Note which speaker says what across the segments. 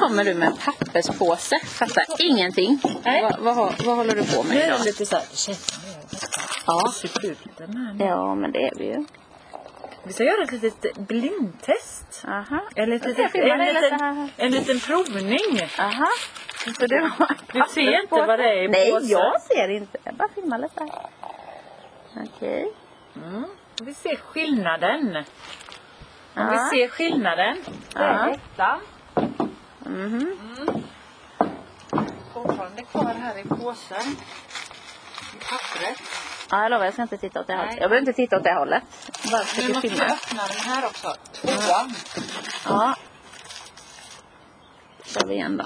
Speaker 1: kommer du med en papperspåse. Fattar ingenting.
Speaker 2: Nej.
Speaker 1: Vad, vad, har- vad håller du på
Speaker 2: Nu
Speaker 1: med
Speaker 2: är
Speaker 1: idag?
Speaker 2: det lite så här, känner
Speaker 1: Ja.
Speaker 2: jag här.
Speaker 1: ja, men det är vi ju.
Speaker 2: Vi ska göra ett litet blindtest.
Speaker 1: Aha.
Speaker 2: En liten,
Speaker 1: Jag filmar
Speaker 2: en,
Speaker 1: dig lite
Speaker 2: liten,
Speaker 1: här.
Speaker 2: en liten provning.
Speaker 1: Aha. Så du har en
Speaker 2: Du ser inte
Speaker 1: papperspåse.
Speaker 2: vad det är i
Speaker 1: Nej,
Speaker 2: påsen.
Speaker 1: jag ser inte. Jag bara filmar lite. här. Okej.
Speaker 2: Mm. Vi ser skillnaden. Om vi
Speaker 1: Ja.
Speaker 2: ser skillnaden. Det
Speaker 1: Ja.
Speaker 2: är ettan.
Speaker 1: Mhm.
Speaker 2: Fortfarande kvar här i påsen. I pappret.
Speaker 1: Ja, jag lovar, jag ska inte titta åt det hållet.
Speaker 2: Nej.
Speaker 1: Jag behöver inte titta åt det hållet. Jag Bara försöker filma.
Speaker 2: öppna den här också. Tvåan.
Speaker 1: Ja. kör vi igen då.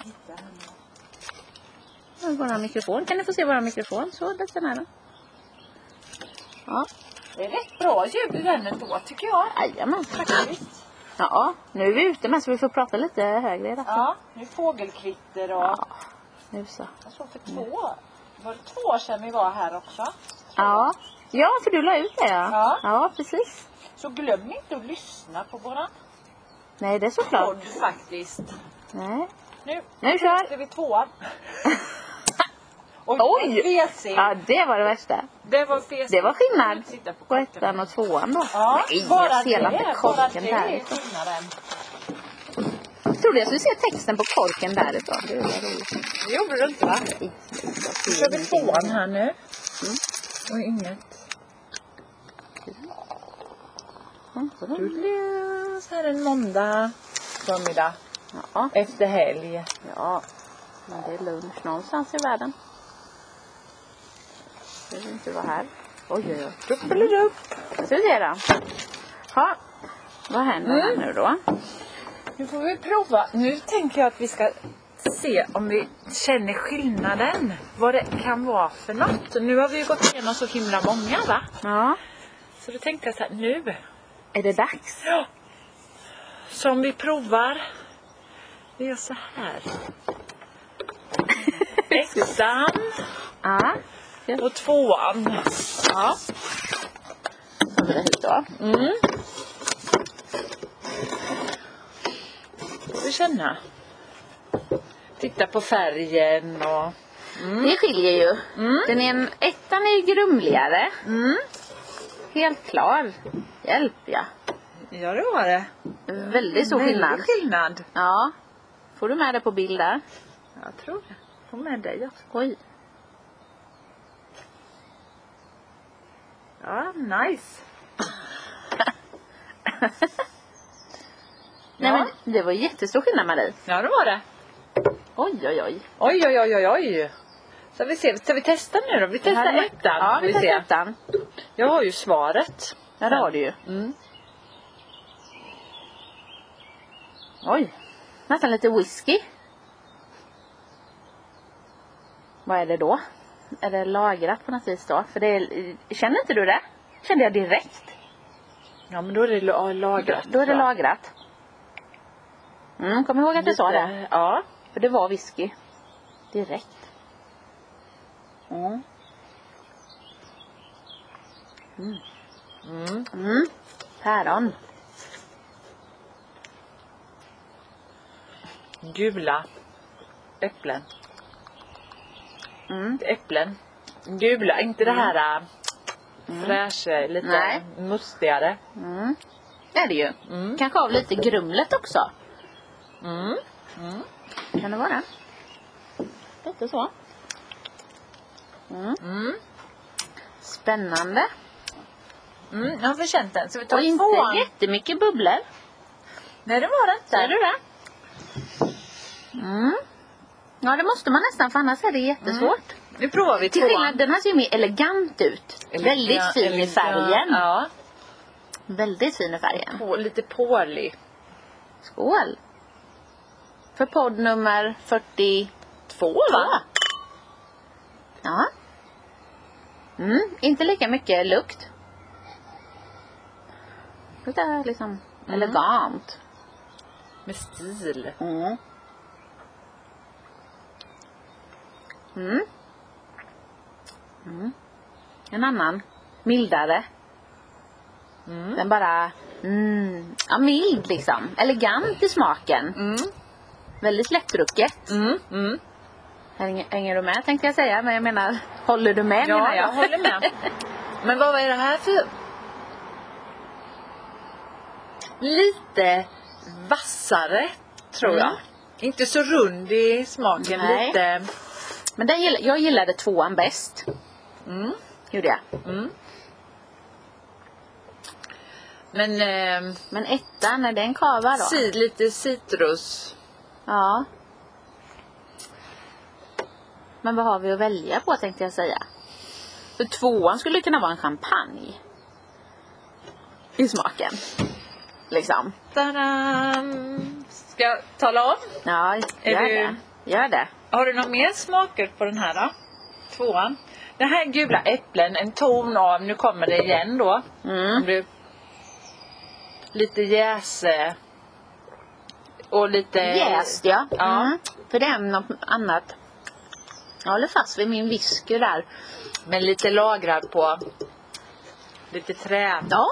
Speaker 1: Här är vår mikrofon. Kan ni få se vår mikrofon? Så, lite nära. Ja,
Speaker 2: Det är rätt bra ljud i den ändå tycker jag.
Speaker 1: jajamän.
Speaker 2: Faktiskt.
Speaker 1: Ja, nu är vi ute med så vi får prata lite högre i detta.
Speaker 2: Ja, nu är fågelkvitter och...
Speaker 1: Ja. Nu så.
Speaker 2: Jag såg för två... Var det två år sedan vi var här också?
Speaker 1: Ja. Ja, för du la ut det ja.
Speaker 2: Ja.
Speaker 1: ja precis.
Speaker 2: Så glöm inte att lyssna på våran
Speaker 1: Nej, det är såklart.
Speaker 2: podd faktiskt.
Speaker 1: Nej.
Speaker 2: Nu,
Speaker 1: Nu kör.
Speaker 2: är vi tvåan. Och
Speaker 1: Oj!
Speaker 2: WC.
Speaker 1: Ja, det var det värsta.
Speaker 2: Det var fes.
Speaker 1: Det var skillnad
Speaker 2: Titta på
Speaker 1: på
Speaker 2: korken.
Speaker 1: ettan och tvåan då.
Speaker 2: Ja,
Speaker 1: Nej,
Speaker 2: bara
Speaker 1: jag ser
Speaker 2: det,
Speaker 1: inte
Speaker 2: bara
Speaker 1: korken
Speaker 2: det är
Speaker 1: därifrån.
Speaker 2: skillnaden.
Speaker 1: Jag trodde jag skulle se texten på korken därifrån. Det var roligt.
Speaker 2: Det gjorde du inte va?
Speaker 1: Nej, Mm. jag
Speaker 2: Nu
Speaker 1: ser
Speaker 2: kör vi
Speaker 1: ingenting.
Speaker 2: tvåan här nu. Och inget.
Speaker 1: Mm, så där.
Speaker 2: Så här en måndag förmiddag
Speaker 1: Ja,
Speaker 2: efter helg.
Speaker 1: ja. Men det är lunch någonstans i världen. Det vill inte vara här. Oj, oj, oj.
Speaker 2: Fullar upp.
Speaker 1: Ska vi se då. Ha. Vad händer här nu då?
Speaker 2: Nu får vi prova. Nu tänker jag att vi ska se om vi känner skillnaden. Vad det kan vara för något. Nu har vi ju gått igenom så himla många va?
Speaker 1: Ja.
Speaker 2: Så då tänkte jag så här, nu.
Speaker 1: Är det dags?
Speaker 2: Så om vi provar. Vi gör så här. Ettan
Speaker 1: Ja.
Speaker 2: och tvåan.
Speaker 1: Ja. Så blir det hit då.
Speaker 2: Mm. Får vi känna. Titta på färgen och...
Speaker 1: Det skiljer ju. Den är en, ettan är ju grumligare.
Speaker 2: Mm.
Speaker 1: Helt klar. Hjälp ja.
Speaker 2: Ja det var det.
Speaker 1: Väldigt stor
Speaker 2: Väldig
Speaker 1: skillnad.
Speaker 2: skillnad.
Speaker 1: Ja. Får du med det på bild där?
Speaker 2: Jag tror det. Få med dig också.
Speaker 1: Oj.
Speaker 2: Ja, nice.
Speaker 1: Nej
Speaker 2: Ja.
Speaker 1: men det var jättestor skillnad med dig.
Speaker 2: Ja, det var det.
Speaker 1: Oj oj oj.
Speaker 2: Oj, oj, oj, oj, oj. Så vi ser. Ska vi testa nu då? Vi
Speaker 1: Det
Speaker 2: testar
Speaker 1: här är-
Speaker 2: ettan.
Speaker 1: Ja vi
Speaker 2: får se.
Speaker 1: testar ettan.
Speaker 2: Jag har ju svaret.
Speaker 1: Ja det har du ju.
Speaker 2: Mm.
Speaker 1: Oj. Nästan lite whisky. Vad är det då? Är det lagrat på något vis då? För det är, känner inte du det? Kände jag direkt.
Speaker 2: Ja, men då är det la- lagrat.
Speaker 1: Då är det
Speaker 2: tror jag.
Speaker 1: lagrat. Mm, kom ihåg att jag sa det.
Speaker 2: Lite- Ja.
Speaker 1: För det var whisky. Direkt.
Speaker 2: Mm.
Speaker 1: Mm. Päron.
Speaker 2: Gula äpplen.
Speaker 1: Mm.
Speaker 2: Äpplen. Gula, inte det här äh, fräscha, lite
Speaker 1: Nej.
Speaker 2: mustigare.
Speaker 1: Mm. Det är det ju.
Speaker 2: Mm.
Speaker 1: Kanske av lite grumlet också.
Speaker 2: Mm.
Speaker 1: Kan det vara? Lite så. Mm.
Speaker 2: Mm.
Speaker 1: Spännande.
Speaker 2: Mm. Jag har förkänt den. Så vi tar
Speaker 1: Och inte
Speaker 2: tvåan.
Speaker 1: jättemycket bubblor.
Speaker 2: Nej, det var det inte.
Speaker 1: Ser du det? Mm. Ja, det måste man nästan för annars är det jättesvårt.
Speaker 2: Nu provar vi
Speaker 1: Till skillnad,
Speaker 2: tvåan.
Speaker 1: den här ser ju mer elegant ut. Väldigt fin i färgen.
Speaker 2: Ja,
Speaker 1: Väldigt fin i färgen.
Speaker 2: på, lite pålig.
Speaker 1: Skål! För podd nummer 42
Speaker 2: Två
Speaker 1: va? Ja. Mm, inte lika mycket lukt. Lite liksom
Speaker 2: Mm.
Speaker 1: elegant.
Speaker 2: Med stil.
Speaker 1: Mm. Mm. Mm. En annan. Mildare.
Speaker 2: Mm.
Speaker 1: Den bara... Mm, ja, mild liksom. Elegant i smaken.
Speaker 2: Mm.
Speaker 1: Väldigt lättdrucket.
Speaker 2: Mm, mm.
Speaker 1: Hänger, hänger du med tänkte jag säga, men jag menar, håller du med menar
Speaker 2: Ja,
Speaker 1: jag?
Speaker 2: jag håller med. Men vad är det här för lite vassare, tror
Speaker 1: Mm.
Speaker 2: jag. Inte så rund i smaken,
Speaker 1: Nej.
Speaker 2: lite...
Speaker 1: Men den gill, jag gillade tvåan bäst.
Speaker 2: Mm.
Speaker 1: Gjorde jag.
Speaker 2: Mm. Men eh,
Speaker 1: Men ettan, är det en kava då?
Speaker 2: ci- lite citrus.
Speaker 1: Ja. Men vad har vi att välja på tänkte jag säga. För tvåan skulle kunna vara en champagne. I smaken. Liksom.
Speaker 2: Tadam! Ska jag tala om?
Speaker 1: Ja, gör
Speaker 2: du-
Speaker 1: det. Gör det.
Speaker 2: Har du någon mer smaker på den här då? Tvåan. Den här gula äpplen, en ton av, nu kommer det igen då.
Speaker 1: Mm.
Speaker 2: Om du, lite jäse. Och lite...
Speaker 1: Jäst ja.
Speaker 2: Ja.
Speaker 1: Mm. För det är något annat. Jag håller fast vid min whisky där.
Speaker 2: Men lite lagrad på. Lite trä.
Speaker 1: Ja,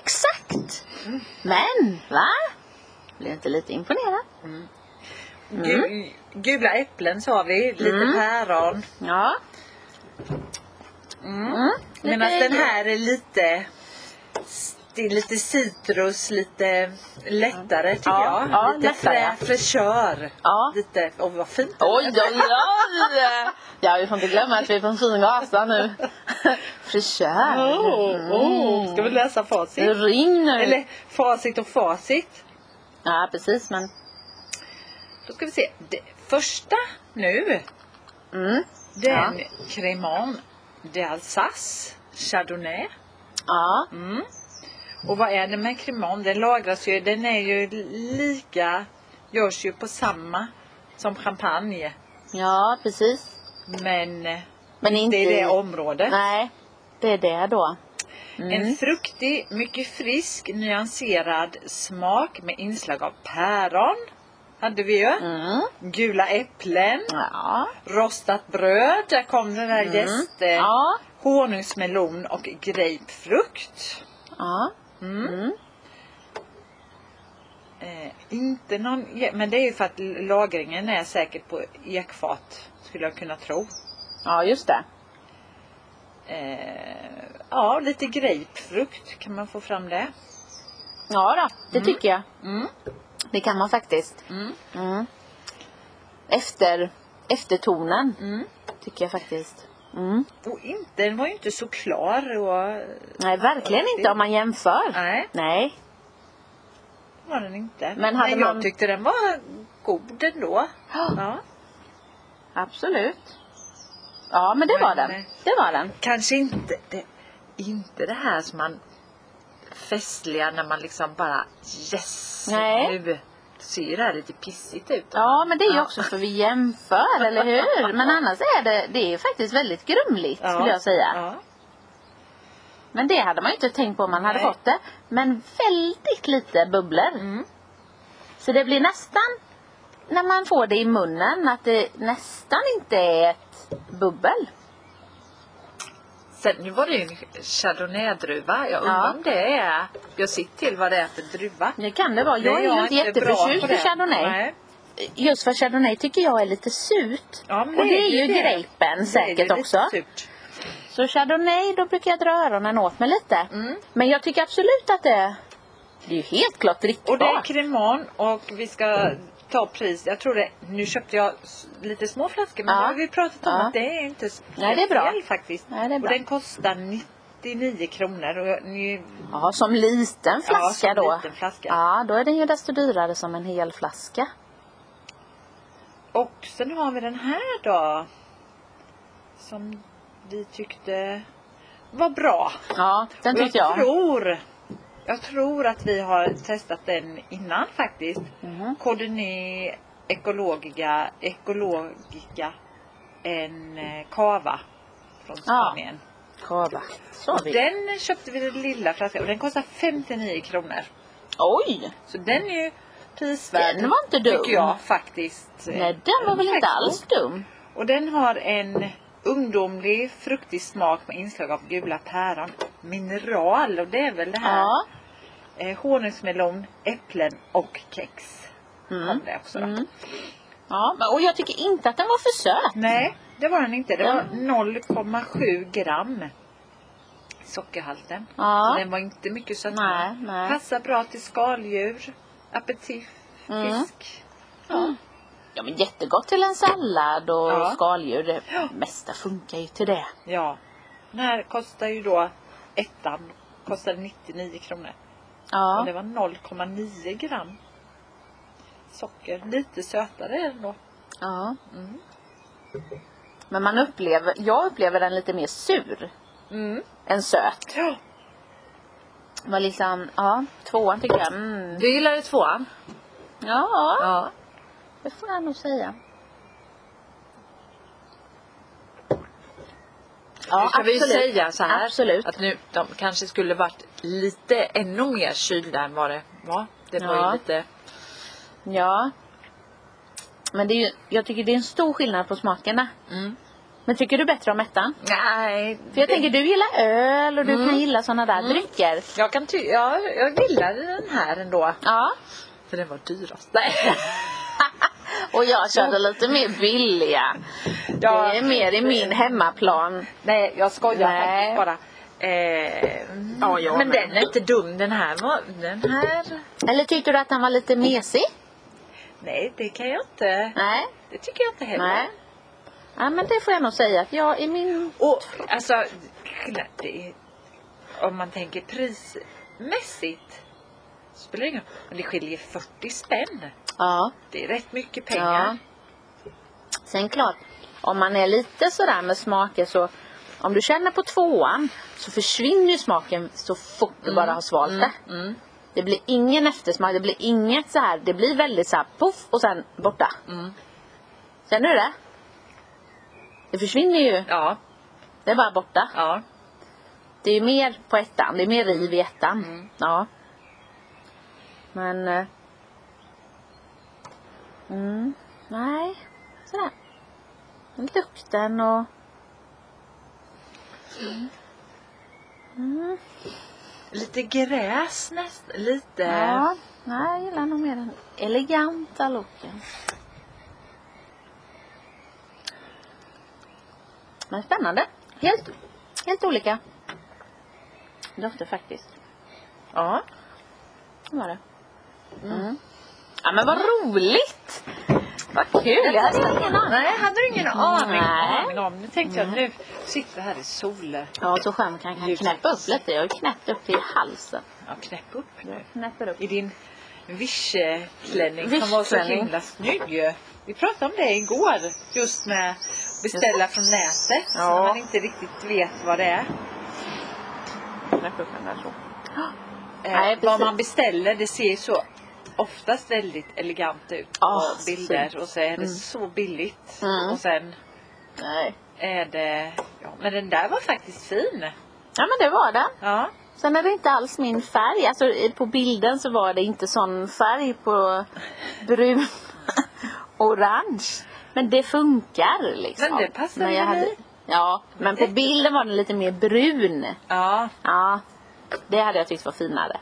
Speaker 1: exakt.
Speaker 2: Mm.
Speaker 1: Men, va? Blev inte lite imponerad?
Speaker 2: Gu- gula äpplen sa vi, lite
Speaker 1: Mm.
Speaker 2: päron.
Speaker 1: Ja. Mm.
Speaker 2: Medan
Speaker 1: Lite-
Speaker 2: den här är lite... Det är lite citrus, lite lättare tycker
Speaker 1: Ja,
Speaker 2: jag.
Speaker 1: ja,
Speaker 2: lite
Speaker 1: lättare.
Speaker 2: trä, fräschör.
Speaker 1: Ja.
Speaker 2: Lite, åh vad fint
Speaker 1: Oj, oj, oj! Ja, vi får inte glömma att vi är på en fin gata nu. Frisör.
Speaker 2: Oh, oh. Ska vi läsa facit?
Speaker 1: Det rinner.
Speaker 2: Eller facit och facit.
Speaker 1: Ja, precis, men...
Speaker 2: Då ska vi se. Det första nu.
Speaker 1: Mm.
Speaker 2: Det är en Cremant d'Alsace Chardonnay.
Speaker 1: Ja.
Speaker 2: Mm. Och vad är det med Cremant? Den lagras ju. Den är ju lika. Görs ju på samma som champagne.
Speaker 1: ja, precis.
Speaker 2: Men eh,
Speaker 1: Men inte
Speaker 2: det är
Speaker 1: i-
Speaker 2: det området.
Speaker 1: Nej, det är det då. Mm.
Speaker 2: En fruktig, mycket frisk, nyanserad smak med inslag av päron. Hade vi ju.
Speaker 1: Mm.
Speaker 2: Gula äpplen.
Speaker 1: Ja.
Speaker 2: Rostat bröd. Där kom den där
Speaker 1: Mm.
Speaker 2: jäst... eh,
Speaker 1: Ja.
Speaker 2: honungsmelon och grapefrukt.
Speaker 1: Ja.
Speaker 2: Mm.
Speaker 1: Mm.
Speaker 2: Eh, inte någon, ja, men det är ju för att lagringen är säkert på ekfat skulle jag kunna tro.
Speaker 1: Ja, just det.
Speaker 2: Eh, ja, lite grapefrukt kan man få fram det.
Speaker 1: Ja då, det tycker jag.
Speaker 2: Mm.
Speaker 1: Det kan man faktiskt.
Speaker 2: Mm.
Speaker 1: Mm. Efter, eftertonen
Speaker 2: Mm.
Speaker 1: tycker jag faktiskt. Mm.
Speaker 2: Och inte, den var ju inte så klar och
Speaker 1: Nej, verkligen inte om man jämför.
Speaker 2: nej,
Speaker 1: Nej.
Speaker 2: det var den inte.
Speaker 1: Men hade
Speaker 2: Nej, jag
Speaker 1: man-
Speaker 2: tyckte den var god ändå. Ja.
Speaker 1: Absolut. Ja, men det var
Speaker 2: Men,
Speaker 1: den.
Speaker 2: eh,
Speaker 1: Det var den.
Speaker 2: Kanske inte det, inte det här som man festliga när man liksom bara yes
Speaker 1: Nej.
Speaker 2: nu ser ju det här lite pissigt ut.
Speaker 1: Ja, men det är ju
Speaker 2: Ja.
Speaker 1: också för vi jämför, eller hur? Men annars är det, det är faktiskt väldigt grumligt,
Speaker 2: Ja.
Speaker 1: skulle jag säga.
Speaker 2: Ja.
Speaker 1: Men det hade man ju inte tänkt på om man hade
Speaker 2: Nej.
Speaker 1: fått det. Men väldigt lite bubblor.
Speaker 2: Mm.
Speaker 1: Så det blir nästan, när man får det i munnen, att det nästan inte är ett bubbel.
Speaker 2: Sen nu var det ju en chardonnay-druva. Jag undrar
Speaker 1: Ja.
Speaker 2: om det är... Jag sitter till vad det är för druva.
Speaker 1: Det kan det vara.
Speaker 2: Det
Speaker 1: Jag är ju inte
Speaker 2: bra på
Speaker 1: jätteförtjust i
Speaker 2: det.
Speaker 1: chardonnay.
Speaker 2: Nej.
Speaker 1: Just för chardonnay tycker jag är lite surt.
Speaker 2: Ja, men
Speaker 1: Och det är
Speaker 2: ju
Speaker 1: ju
Speaker 2: det.
Speaker 1: grapen
Speaker 2: Det är ju
Speaker 1: säkert
Speaker 2: lite
Speaker 1: också.
Speaker 2: Surt.
Speaker 1: Så chardonnay, då brukar jag dra öronen åt mig lite.
Speaker 2: Mm.
Speaker 1: Men jag tycker absolut att det, det är ju helt klart
Speaker 2: Och
Speaker 1: drickbart.
Speaker 2: det är Cremant och vi ska ta pris. Jag tror det, nu köpte jag s- lite små flaskor men
Speaker 1: Ja.
Speaker 2: nu har vi pratat om
Speaker 1: Ja.
Speaker 2: att det är inte s-
Speaker 1: Nej, det är bra.
Speaker 2: fel faktiskt.
Speaker 1: Nej, det är
Speaker 2: Och
Speaker 1: bra.
Speaker 2: den kostar 99 kronor. Och jag- ni,
Speaker 1: Ja, som liten flaska
Speaker 2: ja, som
Speaker 1: då.
Speaker 2: Liten flaska.
Speaker 1: Ja, då är den ju desto dyrare som en hel flaska.
Speaker 2: Och sen har vi den här då. Som vi tyckte var bra.
Speaker 1: Ja, den
Speaker 2: Och
Speaker 1: tyckte
Speaker 2: jag
Speaker 1: jag.
Speaker 2: tror jag tror att vi har testat den innan faktiskt.
Speaker 1: Mhm.
Speaker 2: Cordonnier ekologiska, ekologiska en eh, kava från
Speaker 1: Ja.
Speaker 2: Spanien.
Speaker 1: Kava. Så
Speaker 2: Och
Speaker 1: vi.
Speaker 2: den köpte vi den lilla flaskan och den kostar 59 kronor.
Speaker 1: Oj!
Speaker 2: Så den är ju prisvärd.
Speaker 1: Den var inte dum.
Speaker 2: Tycker jag faktiskt.
Speaker 1: Nej, den var väl inte
Speaker 2: Tack så.
Speaker 1: alls dum.
Speaker 2: Och den har en ungdomlig fruktig smak med inslag av gula päron. Mineral och det är väl det här.
Speaker 1: Ja.
Speaker 2: Eh, honungsmelon, äpplen och kex.
Speaker 1: Mm.
Speaker 2: hade det också. Då.
Speaker 1: Mm. Ja, men- och jag tycker inte att den var för söt.
Speaker 2: Nej, det var den inte. Det var
Speaker 1: Ja.
Speaker 2: 0,7 gram sockerhalten. Så
Speaker 1: Ja.
Speaker 2: den var inte mycket sötma.
Speaker 1: Nej, nej.
Speaker 2: Passar bra till skaldjur, appetit,
Speaker 1: Mm.
Speaker 2: fisk.
Speaker 1: Ja, men jättegott till en sallad och
Speaker 2: Ja.
Speaker 1: skaldjur. Det
Speaker 2: Ja.
Speaker 1: mesta funkar ju till det.
Speaker 2: Ja. Den här kostar ju då ettan kostade 99 kronor. Och
Speaker 1: Ja.
Speaker 2: det var 0,9 gram socker. Lite sötare är den då.
Speaker 1: ja.
Speaker 2: Mm.
Speaker 1: Men man upplever, jag upplever den lite mer sur
Speaker 2: Mm.
Speaker 1: än söt.
Speaker 2: Ja.
Speaker 1: Var liksom, ja, tvåan tycker jag. Mm.
Speaker 2: Du gillade tvåan?
Speaker 1: Ja,
Speaker 2: Ja.
Speaker 1: det får jag nog säga.
Speaker 2: Ja,
Speaker 1: Ja,
Speaker 2: ska vi
Speaker 1: absolut.
Speaker 2: säga så här
Speaker 1: Absolut.
Speaker 2: att nu, de kanske skulle varit lite ännu mer kylda än vad det var. Det var
Speaker 1: Ja.
Speaker 2: ju lite...
Speaker 1: Ja. Men det är ju, jag tycker det är en stor skillnad på smakerna.
Speaker 2: Mm.
Speaker 1: Men tycker du bättre om ettan?
Speaker 2: Nej.
Speaker 1: För jag tänker, du gillar öl och du
Speaker 2: Mm.
Speaker 1: kan gilla sådana där
Speaker 2: Mm.
Speaker 1: drycker.
Speaker 2: Jag kan ty- ja, jag gillade den här ändå.
Speaker 1: Ja.
Speaker 2: För den var dyrast. Nej.
Speaker 1: Och jag körde lite mer billiga.
Speaker 2: Ja.
Speaker 1: Det är mer i min hemmaplan.
Speaker 2: Nej, jag skojar
Speaker 1: Nej.
Speaker 2: faktiskt bara. Eh,
Speaker 1: Ja, jag
Speaker 2: men
Speaker 1: med.
Speaker 2: den är inte dum den här. var- Den här...
Speaker 1: Eller tyckte du att den var lite mesig?
Speaker 2: Nej, det kan jag inte.
Speaker 1: Nej.
Speaker 2: Det tycker jag inte heller.
Speaker 1: Nej. Ja, men det får jag nog säga att jag i min...
Speaker 2: Och alltså, skillnad, det är, om man tänker prismässigt spelar det ingen roll. Men det skiljer 40 spänn.
Speaker 1: Ja.
Speaker 2: Det är rätt mycket pengar.
Speaker 1: Sen klart, om man är lite sådär med smaker så om du känner på tvåan så försvinner ju smaken så fort du bara har svalt det.
Speaker 2: Mm,
Speaker 1: Det blir ingen eftersmak, det blir inget så här. det blir väldigt så här poff och sen borta.
Speaker 2: mm.
Speaker 1: Känner du det? Det försvinner ju,
Speaker 2: Ja,
Speaker 1: det är bara borta.
Speaker 2: ja.
Speaker 1: Det är ju mer på ettan, det är mer riv i ettan.
Speaker 2: Mm.
Speaker 1: Ja. Men... eh, Mm, nej. Sådär. Lukten och...
Speaker 2: Lite gräs nästan. Lite.
Speaker 1: Ja, nej, jag gillar nog mer den eleganta looken. Men spännande. Helt, helt olika dofter faktiskt.
Speaker 2: ja.
Speaker 1: Så var det. Mm. Ja men vad roligt! Vad kul! Jag hade ingen aning.
Speaker 2: Nej, hade du ingen aning,
Speaker 1: Nej. Mm.
Speaker 2: aning om. Nu tänkte jag nu sitter vi här i solen.
Speaker 1: Ja, så skärmen kan kan knäppa upp lite. Jag har ju knäppt upp i halsen.
Speaker 2: Ja, knäpp upp nu.
Speaker 1: Jag knäpper upp.
Speaker 2: I din vischeklänning som var så
Speaker 1: Vischeklänning.
Speaker 2: himla snygg ju. Vi pratade om det igår. Just med att beställa från nätet.
Speaker 1: Ja.
Speaker 2: När man inte riktigt vet vad det är.
Speaker 1: Knäpp upp den där så.
Speaker 2: Eh,
Speaker 1: Nej,
Speaker 2: vad
Speaker 1: precis.
Speaker 2: man beställer det ser ju så oftast väldigt elegant ut.
Speaker 1: Ja,
Speaker 2: och bilder.
Speaker 1: fint.
Speaker 2: Och så är det
Speaker 1: Ah, Mm.
Speaker 2: så billigt.
Speaker 1: Mm.
Speaker 2: Och sen
Speaker 1: Nej.
Speaker 2: är det... Ja, men den där var faktiskt fin.
Speaker 1: Ja men det var den.
Speaker 2: Ja.
Speaker 1: Sen är det inte alls min färg. Alltså i- på bilden så var det inte sån färg på brun orange. Men det funkar liksom.
Speaker 2: Men det passar
Speaker 1: Men jag
Speaker 2: väl
Speaker 1: hade-
Speaker 2: i?
Speaker 1: Ja, men på bilden var den lite mer brun.
Speaker 2: Ja.
Speaker 1: Ja, det hade jag tyckt var finare.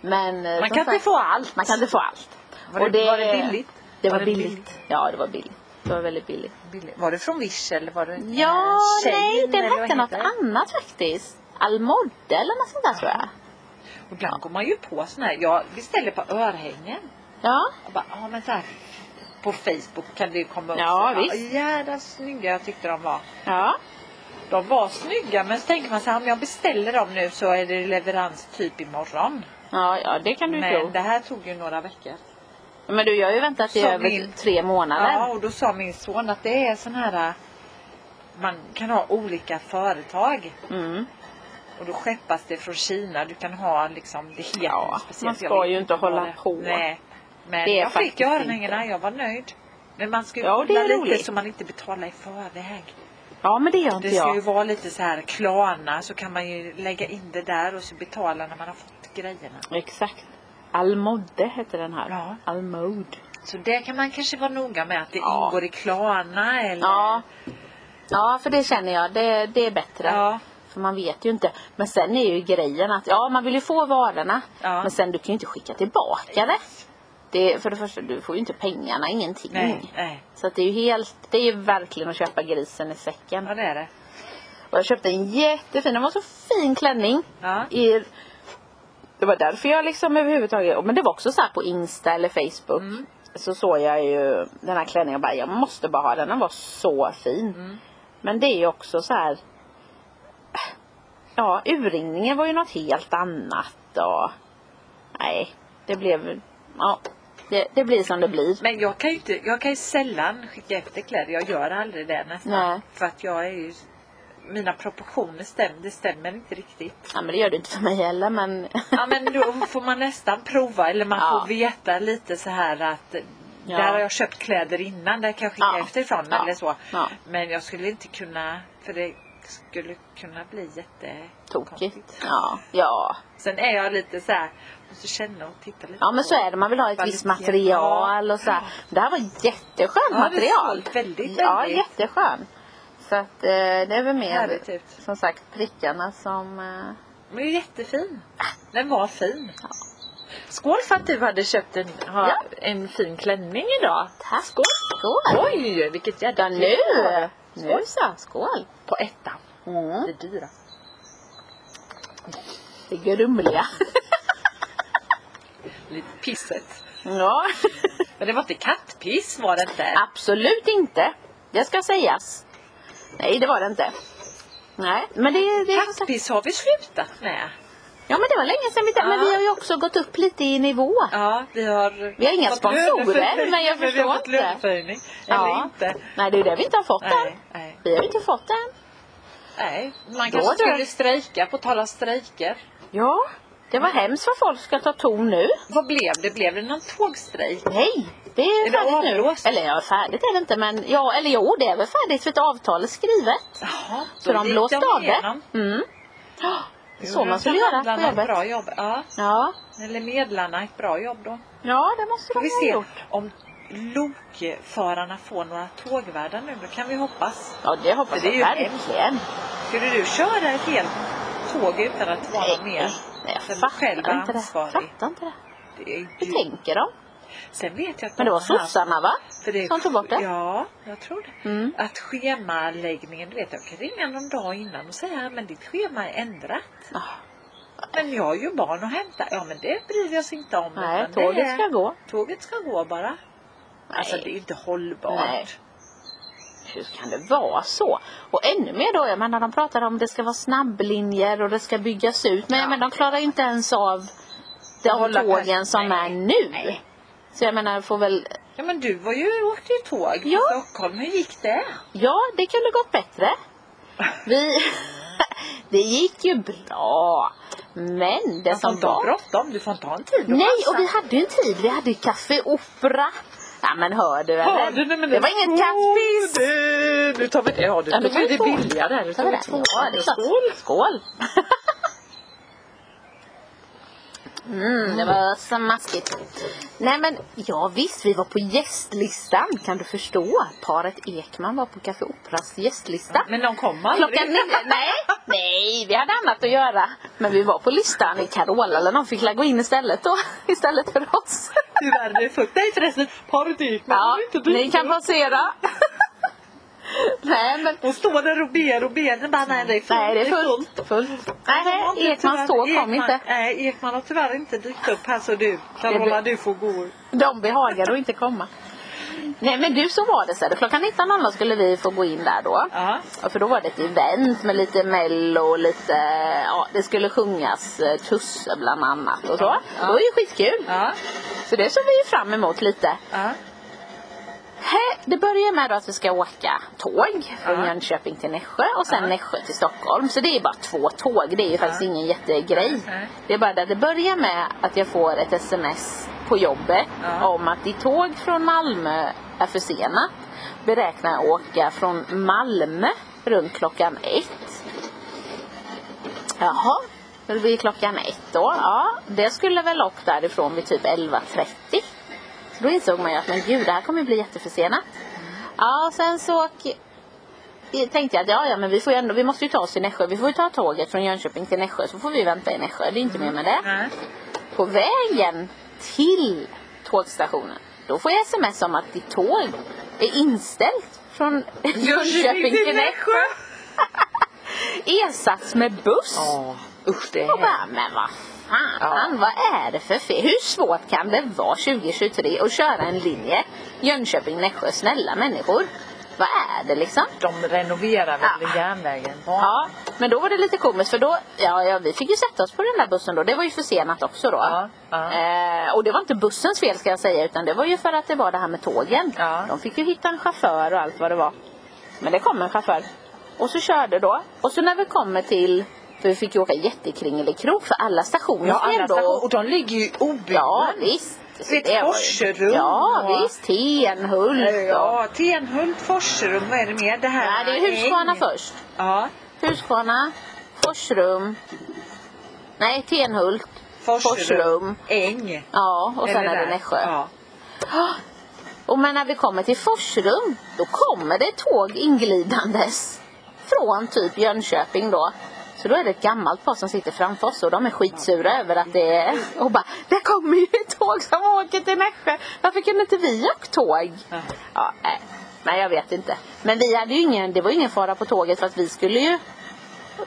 Speaker 1: Men eh, som
Speaker 2: Man kan inte
Speaker 1: sagt,
Speaker 2: få allt.
Speaker 1: man kan inte få allt.
Speaker 2: Var det,
Speaker 1: Och det-
Speaker 2: var det billigt?
Speaker 1: Det var, billigt. Ja, det var billigt. Det var väldigt billigt.
Speaker 2: billigt? Var det från Wish eller var det den
Speaker 1: Ja,
Speaker 2: här tjejen,
Speaker 1: nej, den
Speaker 2: eller vad
Speaker 1: hette något
Speaker 2: heter det?
Speaker 1: annat faktiskt. Almodde eller något sånt där tror jag.
Speaker 2: Och Ibland går man ju på såna här, jag beställer på örhängen.
Speaker 1: Ja,
Speaker 2: Och bara, ja men så här, på Facebook kan det ju komma upp.
Speaker 1: Ja,
Speaker 2: så,
Speaker 1: visst.
Speaker 2: Jädra snygga jag tyckte de var.
Speaker 1: ja.
Speaker 2: De var snygga men så tänker man så här, om jag beställer dem nu så är det leverans typ imorgon.
Speaker 1: Ja, ja det kan du ju tro.
Speaker 2: Men det här tog ju några veckor.
Speaker 1: Men du, jag har ju väntat i
Speaker 2: Som
Speaker 1: över
Speaker 2: min-
Speaker 1: tre månader.
Speaker 2: Ja, och då sa min son att det är sån här, äh, man kan ha olika företag.
Speaker 1: Mm.
Speaker 2: Och då skeppas det från Kina. Du kan ha liksom, det heter
Speaker 1: Ja,
Speaker 2: något
Speaker 1: man
Speaker 2: Jag
Speaker 1: ska
Speaker 2: vet
Speaker 1: ju inte
Speaker 2: vad
Speaker 1: hålla
Speaker 2: det-
Speaker 1: på.
Speaker 2: Nej. Men
Speaker 1: Det är
Speaker 2: jag fick
Speaker 1: faktiskt
Speaker 2: örhängena, jag var nöjd. Men man ska ju
Speaker 1: Ja, och det är
Speaker 2: kolla lite
Speaker 1: roligt.
Speaker 2: så man inte betalar i förväg.
Speaker 1: Ja, men det gör inte
Speaker 2: Det ska ju
Speaker 1: jag.
Speaker 2: vara lite så här Klarna så kan man ju lägga in det där och så betala när man har fått grejerna.
Speaker 1: Exakt. Almodde hette den här.
Speaker 2: Ja.
Speaker 1: Almod.
Speaker 2: Så det kan man kanske vara noga med att det
Speaker 1: Ja.
Speaker 2: ingår i Klarna eller...
Speaker 1: Ja. Ja, för det känner jag. Det, det är bättre.
Speaker 2: Ja.
Speaker 1: För man vet ju inte. Men sen är ju grejen att ja, man vill ju få varorna.
Speaker 2: Ja.
Speaker 1: Men sen du kan ju inte skicka tillbaka det. Det, är- för det första, du får ju inte pengarna, ingenting.
Speaker 2: Nej, nej.
Speaker 1: Så att det är ju helt, det är ju verkligen att köpa grisen i säcken.
Speaker 2: Ja, det är det.
Speaker 1: Och jag köpte en jättefin, den var så fin klänning.
Speaker 2: Ja.
Speaker 1: I, det var därför jag liksom överhuvudtaget, men det var också så här på Insta eller Facebook.
Speaker 2: Mm.
Speaker 1: Så såg jag ju den här klänningen och bara, jag måste bara ha den, den var så fin.
Speaker 2: Mm.
Speaker 1: Men det är ju också så här. Ja, urringningen var ju något helt annat och nej, det blev, ja, det, det blir som det blir.
Speaker 2: Men jag kan ju inte, jag kan ju sällan skicka efter kläder. Jag gör aldrig det nästan.
Speaker 1: Nej.
Speaker 2: För att jag är ju, mina proportioner stämmer, det stämmer inte riktigt.
Speaker 1: Ja, men det gör det inte för mig heller men
Speaker 2: Ja men då får man nästan prova eller man
Speaker 1: Ja.
Speaker 2: får veta lite så här att
Speaker 1: Ja.
Speaker 2: där har jag köpt kläder innan, där kan jag skicka
Speaker 1: Ja.
Speaker 2: efterifrån
Speaker 1: Ja.
Speaker 2: eller så.
Speaker 1: Ja.
Speaker 2: Men jag skulle inte kunna, för det skulle kunna bli jätte...
Speaker 1: tokigt. Ja, ja.
Speaker 2: Sen är jag lite så här, måste känna och titta lite
Speaker 1: Ja men
Speaker 2: på.
Speaker 1: så är det, man vill ha ett visst material och så här. Det här var jätteskönt
Speaker 2: Ja, det
Speaker 1: material.
Speaker 2: såg väldigt, väldigt.
Speaker 1: Ja, jätteskön. Så att eh, det är väl mer
Speaker 2: Härligt ut.
Speaker 1: som sagt prickarna som... Eh,
Speaker 2: Den är jättefin. Den var fin. Skål för att du hade köpt en, ha,
Speaker 1: Ja.
Speaker 2: en fin klänning idag.
Speaker 1: tack!
Speaker 2: Skål.
Speaker 1: Skål!
Speaker 2: Oj, vilket jädra
Speaker 1: Ja nu!
Speaker 2: klipp.
Speaker 1: Nu så, skål!
Speaker 2: På ettan.
Speaker 1: Mm.
Speaker 2: Det dyra.
Speaker 1: Det grumliga.
Speaker 2: Lite pisset.
Speaker 1: ja,
Speaker 2: Men det var inte kattpiss var det inte.
Speaker 1: absolut inte. Det ska sägas. Nej, det var det inte. Nej, men det... det är som sagt-
Speaker 2: Kattpiss har vi slutat med.
Speaker 1: ja men det var länge sedan vi...
Speaker 2: Ja.
Speaker 1: Men vi har ju också gått upp lite i nivå.
Speaker 2: Ja, vi har...
Speaker 1: Vi har inga
Speaker 2: fått
Speaker 1: sponsorer,
Speaker 2: löneförhöjning,
Speaker 1: men jag
Speaker 2: Vi har
Speaker 1: förstår
Speaker 2: fått
Speaker 1: inte.
Speaker 2: löneförhöjning. Eller
Speaker 1: Ja.
Speaker 2: inte.
Speaker 1: Nej, det är ju det vi inte har fått än.
Speaker 2: Nej, nej,
Speaker 1: Vi har ju inte fått den.
Speaker 2: nej. Man
Speaker 1: Då
Speaker 2: kanske
Speaker 1: drar-
Speaker 2: skulle strejka, på tal om strejker.
Speaker 1: Ja, det var hemskt vad folk ska ta ton nu.
Speaker 2: Vad blev det? Blev det någon tågstrejk?
Speaker 1: Nej, det är,
Speaker 2: Är det
Speaker 1: färdigt
Speaker 2: avblåst?
Speaker 1: nu. Eller ja, färdigt är det inte men ja, eller jo det är väl färdigt för ett avtal är skrivet.
Speaker 2: Jaha,
Speaker 1: Så de
Speaker 2: gick
Speaker 1: blåste av det.
Speaker 2: igenom.
Speaker 1: Mm. Ja, det är Så
Speaker 2: Gjorde
Speaker 1: man
Speaker 2: de
Speaker 1: skulle göra på
Speaker 2: förhandlarna ett
Speaker 1: jobbet.
Speaker 2: Bra jobb. Ja,
Speaker 1: Ja.
Speaker 2: eller medlarna ett bra jobb då.
Speaker 1: ja, det måste
Speaker 2: Får
Speaker 1: de
Speaker 2: vi
Speaker 1: ha
Speaker 2: se
Speaker 1: gjort.
Speaker 2: om lokförarna får några tågvärdar nu. Då kan vi hoppas.
Speaker 1: Ja, det hoppas
Speaker 2: Det är
Speaker 1: jag
Speaker 2: ju
Speaker 1: verkligen.
Speaker 2: Skulle du köra ett helt tåg utan att vara
Speaker 1: Nej,
Speaker 2: med?
Speaker 1: nej, jag
Speaker 2: Sen
Speaker 1: fattar
Speaker 2: själv
Speaker 1: inte det.
Speaker 2: ansvarig.
Speaker 1: Fattar inte det.
Speaker 2: Det är
Speaker 1: Hur
Speaker 2: ju...
Speaker 1: tänker de?
Speaker 2: Sen vet jag att
Speaker 1: Men det var
Speaker 2: de har haft-
Speaker 1: sossarna va?
Speaker 2: för det-
Speaker 1: som tog bort det?
Speaker 2: Ja, jag tror det.
Speaker 1: Mm.
Speaker 2: Att schemaläggningen, du vet jag kan ringa någon dag innan och säga men ditt schema är ändrat.
Speaker 1: Ah,
Speaker 2: Men jag har ju barn att hämta. Ja men det bryr vi oss inte om.
Speaker 1: Nej,
Speaker 2: utan det
Speaker 1: tåget
Speaker 2: är-
Speaker 1: ska gå.
Speaker 2: Tåget ska gå bara. Alltså det är ju inte hållbart.
Speaker 1: Nej. Hur kan det vara så? Och ännu mer då, jag menar de pratar om det ska vara snabblinjer och det ska byggas ut. Men
Speaker 2: Ja.
Speaker 1: jag menar de klarar ju inte ens av
Speaker 2: Att
Speaker 1: de
Speaker 2: hålla
Speaker 1: tågen
Speaker 2: pass.
Speaker 1: som
Speaker 2: Nej.
Speaker 1: är nu.
Speaker 2: Nej.
Speaker 1: Så jag menar får väl,
Speaker 2: Ja men du var ju, åkte ju tåg till
Speaker 1: Ja.
Speaker 2: Stockholm. Hur gick det?
Speaker 1: ja det kunde gått bättre. Vi, det gick ju bra. Men det
Speaker 2: Man får
Speaker 1: som
Speaker 2: inte ha
Speaker 1: var...
Speaker 2: bråttom. Alltså, Du får inte ha en tid att
Speaker 1: Nej
Speaker 2: passa.
Speaker 1: och vi hade ju en tid, vi hade ju Café Opera. Ja men hör du eller?
Speaker 2: Ja, du, nej, men
Speaker 1: det var inget kattpiss!
Speaker 2: Du, du tar väl det? Ja, du
Speaker 1: Ja,
Speaker 2: tog
Speaker 1: men
Speaker 2: väl det
Speaker 1: två.
Speaker 2: billiga där? Du
Speaker 1: Ta
Speaker 2: tog
Speaker 1: med
Speaker 2: väl
Speaker 1: den.
Speaker 2: två?
Speaker 1: Ja, det är klart.
Speaker 2: Skål.
Speaker 1: Skål! Mm, det var så maskigt. Nej men, ja visst, vi var på gästlistan. Kan du förstå? Paret Ekman var på Café Operas gästlista.
Speaker 2: Men de kom aldrig.
Speaker 1: Klockan nio, nej, nej, vi hade annat att göra. Men vi var på listan i Carola eller någon fick la gå in istället då. Istället för oss.
Speaker 2: Hur är det fullt? Nej förresten, paret gick men
Speaker 1: Ja,
Speaker 2: det är inte dyrt.
Speaker 1: ni kan passera. Nej men
Speaker 2: Hon står där och ber och ber. Den bara, nej det är fullt.
Speaker 1: Nej, det är fullt. fullt.
Speaker 2: Ja,
Speaker 1: Nej,
Speaker 2: men
Speaker 1: Ekmans
Speaker 2: tyvärr-
Speaker 1: tåg kom
Speaker 2: Ekman-
Speaker 1: inte.
Speaker 2: Nej, Ekman har tyvärr inte dykt upp här så du, Carola du får gå.
Speaker 1: De behagade att inte komma. Nej men du så var det så här. klockan 19.00 skulle vi få gå in där då.
Speaker 2: Ja.
Speaker 1: Ja, För då var det ett event med lite mello och lite, ja det skulle sjungas eh, Tusse bland annat och så.
Speaker 2: Ja.
Speaker 1: Det var ju skitkul.
Speaker 2: Ja.
Speaker 1: Så det såg vi ju fram emot lite.
Speaker 2: Ja.
Speaker 1: Hä, Det börjar med då att vi ska åka tåg från
Speaker 2: Ja.
Speaker 1: Jönköping till Nässjö och sen
Speaker 2: Ja.
Speaker 1: Nässjö till Stockholm. Så det är bara två tåg, det är ju faktiskt ingen jättegrej.
Speaker 2: Nej.
Speaker 1: Det är bara det att det börjar med att jag får ett sms på jobbet
Speaker 2: Ja.
Speaker 1: om att ditt tåg från Malmö är försenat. Beräknar jag åka från Malmö runt klockan ett. Jaha, det blir klockan ett då. Ja, det skulle väl åkt därifrån vid typ 11.30. Så då insåg man ju att men gud, det här kommer ju bli jätteförsenat. Ja, och sen så åk- tänkte jag att ja, ja, men vi, får ju ändå, vi måste ju ta oss till Nässjö. Vi får ju ta tåget från Jönköping till Nässjö så får vi vänta i Nässjö. Det är inte mer med det.
Speaker 2: Nej.
Speaker 1: På vägen till tågstationen. Då får jag sms om att ditt tåg är inställt från Jönköping till Nässjö. Ersatts med buss.
Speaker 3: Ja, usch det
Speaker 1: Och
Speaker 3: är
Speaker 1: bara,
Speaker 3: hemskt.
Speaker 1: men vad fan,
Speaker 3: Ja.
Speaker 1: vad är det för fel? Hur svårt kan det vara 2023 att köra en linje Jönköping-Nässjö? Snälla människor, vad är det liksom?
Speaker 3: De renoverar väl
Speaker 1: Ja.
Speaker 3: järnvägen?
Speaker 1: Ja, men då var det lite komiskt för då, ja, ja vi fick ju sätta oss på den där bussen då. Det var ju försenat också då.
Speaker 3: Ja, ja.
Speaker 1: Eh, och det var inte bussens fel ska jag säga utan det var ju för att det var det här med tågen.
Speaker 3: Ja.
Speaker 1: De fick ju hitta en chaufför och allt vad det var. Men det kom en chaufför. Och så körde då. Och så när vi kommer till, för vi fick ju åka jättekringelikrok för alla stationer
Speaker 3: Ja,
Speaker 1: fel
Speaker 3: alla
Speaker 1: då.
Speaker 3: stationer. Och de ligger ju i obygden.
Speaker 1: Ja visst. Så
Speaker 3: Vet,
Speaker 1: det var ju-
Speaker 3: Forserum
Speaker 1: Ja
Speaker 3: och-
Speaker 1: visst, Tenhult och...
Speaker 3: Mm. Ja, Tenhult, Forserum, vad är det mer? Det här
Speaker 1: Nej, Mm. det är Huskvarna
Speaker 3: Äng.
Speaker 1: först.
Speaker 3: Ja,
Speaker 1: Huskvarna, Forsrum, nej Tenhult,
Speaker 3: Forserum.
Speaker 1: Forsrum.
Speaker 3: Äng.
Speaker 1: Ja, och sen
Speaker 3: Eller
Speaker 1: är det
Speaker 3: där.
Speaker 1: Nässjö.
Speaker 3: Ja.
Speaker 1: Och men när vi kommer till Forsrum, då kommer det tåg inglidandes. Från typ Jönköping då. Så då är det ett gammalt par som sitter framför oss och de är skitsura över att det är... Och bara, det kommer ju ett tåg som åker till Nässjö. Varför kunde inte vi åkt tåg?
Speaker 3: Ja.
Speaker 1: Ja, nej. nej, jag vet inte. Men vi hade ju ingen, det var ju ingen fara på tåget för att vi skulle ju...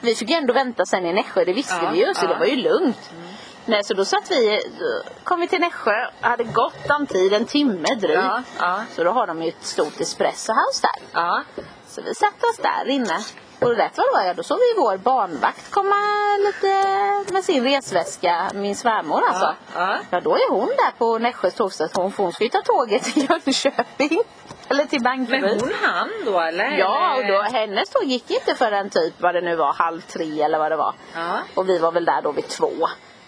Speaker 1: Vi fick ju ändå vänta sen i Nässjö, det visste
Speaker 3: Ja,
Speaker 1: vi ju, så
Speaker 3: ja.
Speaker 1: det var ju lugnt. Nej, så då satt vi, då kom vi till Nässjö, hade gott om tid, en timme drygt.
Speaker 3: Ja, ja.
Speaker 1: Så då har de ju ett stort espresso house där.
Speaker 3: Ja.
Speaker 1: Så vi satte oss där inne. Och rätt vad det var, ja, då såg vi vår barnvakt komma lite med sin resväska, min svärmor alltså.
Speaker 3: ja.
Speaker 1: Ja, då är hon där på Nässjös tågstation för hon ska ju ta tåget till Jönköping. Eller till
Speaker 3: Men
Speaker 1: Bankeryd.
Speaker 3: hon han då eller?
Speaker 1: Mm. Ja, och då, hennes tåg gick inte förrän typ vad det nu var, halv tre eller vad det var.
Speaker 3: Ja.
Speaker 1: Och vi var väl där då vid två.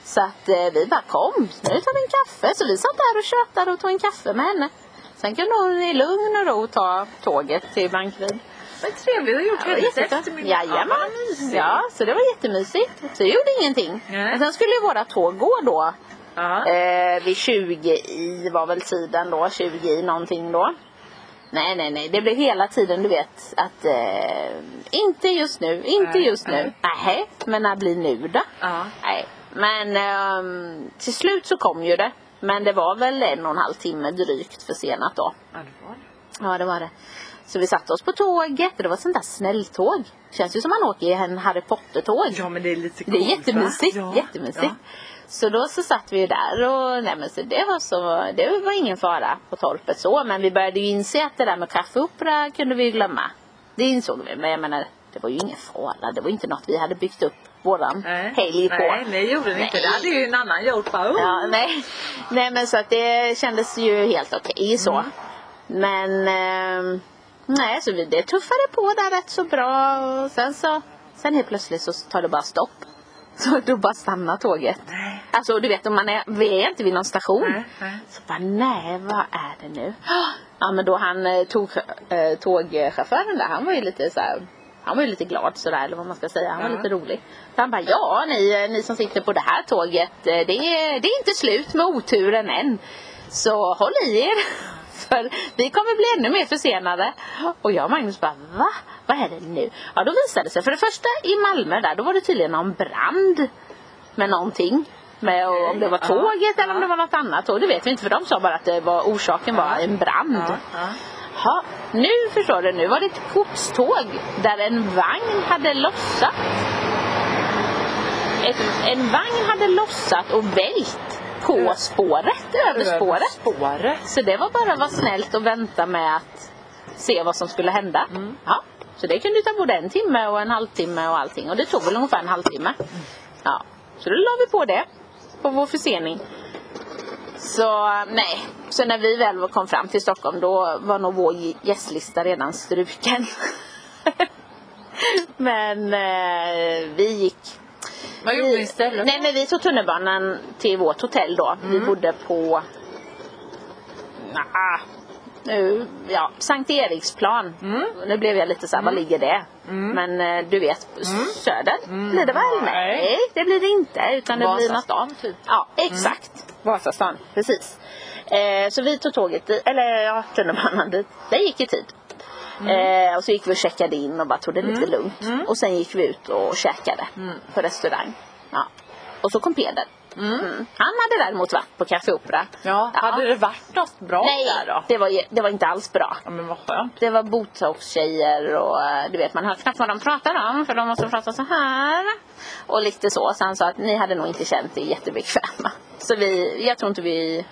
Speaker 1: Så att eh, vi bara kom, nu tar vi en kaffe. Så vi satt där och tjötade och tog en kaffe med henne. Sen kunde hon i lugn och ro ta tåget till Bankeryd.
Speaker 3: Vad trevligt, du har gjort
Speaker 1: Det var
Speaker 3: hennes
Speaker 1: jättebra.
Speaker 3: eftermiddag.
Speaker 1: Jajamän.
Speaker 3: vad mysigt.
Speaker 1: Ja, så det var jättemysigt. Så det gjorde ingenting.
Speaker 3: Nej.
Speaker 1: Men sen skulle ju våra tåg gå då.
Speaker 3: Ja.
Speaker 1: Eh, vid 20 i var väl tiden då, 20 i någonting då. Nej, nej, nej, det blev hela tiden du vet att eh, inte just nu, inte
Speaker 3: Nej,
Speaker 1: just nu.
Speaker 3: nej.
Speaker 1: Nej, men när blir nu då?
Speaker 3: Ja.
Speaker 1: Nej, men ehm, till slut så kom ju det. Men det var väl en och en halv timme drygt försenat då.
Speaker 3: Ja, det var det.
Speaker 1: Ja, det var det. Så vi satte oss på tåget och det var ett sånt där snälltåg. Känns ju som man åker i en Harry Potter-tåg.
Speaker 3: Ja men det är lite
Speaker 1: Det
Speaker 3: coolt
Speaker 1: är jättemysigt,
Speaker 3: va?
Speaker 1: jättemysigt.
Speaker 3: Ja.
Speaker 1: Så då så satt vi ju där och nej men så det var så, det var ingen fara på torpet så men vi började ju inse att det där med kaffeopera kunde vi ju glömma. Det insåg vi men jag menar det var ju ingen fara, det var ju inte något vi hade byggt upp våran
Speaker 3: Nej.
Speaker 1: helg på.
Speaker 3: Nej, nej gjorde ni inte.
Speaker 1: Nej.
Speaker 3: Det hade ju en annan gjort bara. oh.
Speaker 1: Ja, nej. nej men så att det kändes ju helt okej så. Men ehm, nej så vi, det tuffade på där rätt så bra och sen så sen helt plötsligt så tar det bara stopp. Så då bara stannar tåget.
Speaker 3: Nej.
Speaker 1: Alltså du vet om man är, vi är inte vid någon station.
Speaker 3: Nej, nej.
Speaker 1: Så bara nej vad är det nu? Ja men då han eh, tog eh, tågchauffören där han var ju lite så här, han var ju lite glad sådär eller vad man ska säga. Han var
Speaker 3: Ja.
Speaker 1: lite rolig. Så han bara ja ni, eh, ni som sitter på det här tåget eh, det är, det är inte slut med oturen än. Så håll i er. För vi kommer bli ännu mer försenade. Och jag och Magnus bara va? Vad är det nu? Ja då visade det sig. För det första i Malmö där då var det tydligen någon brand med någonting. Med
Speaker 3: Okej,
Speaker 1: om det var
Speaker 3: ja,
Speaker 1: tåget eller om
Speaker 3: ja.
Speaker 1: det var något annat tåg. Det vet vi inte för de sa bara att det var, orsaken var en brand.
Speaker 3: Ja, ja.
Speaker 1: Ha, nu förstår du, nu var det ett godståg där en vagn hade lossat. Ett, en vagn hade lossat och vält på
Speaker 3: Ö-
Speaker 1: spåret, över
Speaker 3: Över
Speaker 1: spåret.
Speaker 3: spåret.
Speaker 1: Så det var bara att vara snällt och vänta med att se vad som skulle hända. Ja, så det kunde ju ta både en timme och en halvtimme och allting. Och det tog väl ungefär en halvtimme. Ja, så då la vi på det. På vår försening. Så nej, så när vi väl kom fram till Stockholm då var nog vår gästlista redan struken. Men eh, vi gick
Speaker 3: Vad gjorde ni istället?
Speaker 1: Mm.
Speaker 3: Mm.
Speaker 1: Nej men vi tog tunnelbanan till vårt hotell då. Vi bodde på Nja, nu, ja, Sankt Eriksplan.
Speaker 3: Mm.
Speaker 1: Nu blev jag lite såhär, var ligger det? Men eh, du vet, s- söder blir det väl?
Speaker 3: Mm. Nej.
Speaker 1: Nej, det blir det inte. Utan det blir något
Speaker 3: Vasastan typ. Mm.
Speaker 1: Ja, exakt. Vasastan, precis. Eh, så vi tog tåget dit, eller ja, tunnelbanan dit. Det gick i tid.
Speaker 3: Mm.
Speaker 1: Eh, och så gick vi och checkade in och bara tog det lite
Speaker 2: Mm.
Speaker 1: lugnt. Och sen gick vi ut och käkade på restaurang. Ja. Och så kom Peder. Mm. Han hade däremot varit på Café Opera.
Speaker 2: Ja,
Speaker 1: Ja.
Speaker 2: hade det varit något bra där
Speaker 1: Nej,
Speaker 2: då?
Speaker 1: det var, ju- det var inte alls bra.
Speaker 2: Ja men vad skönt.
Speaker 1: Det var botox-tjejer och eh, du vet man hör knappt vad de pratar om för de måste prata så här. Och lite så. Så han sa att ni hade nog inte känt er jättebekväma. Så vi, jag tror inte vi,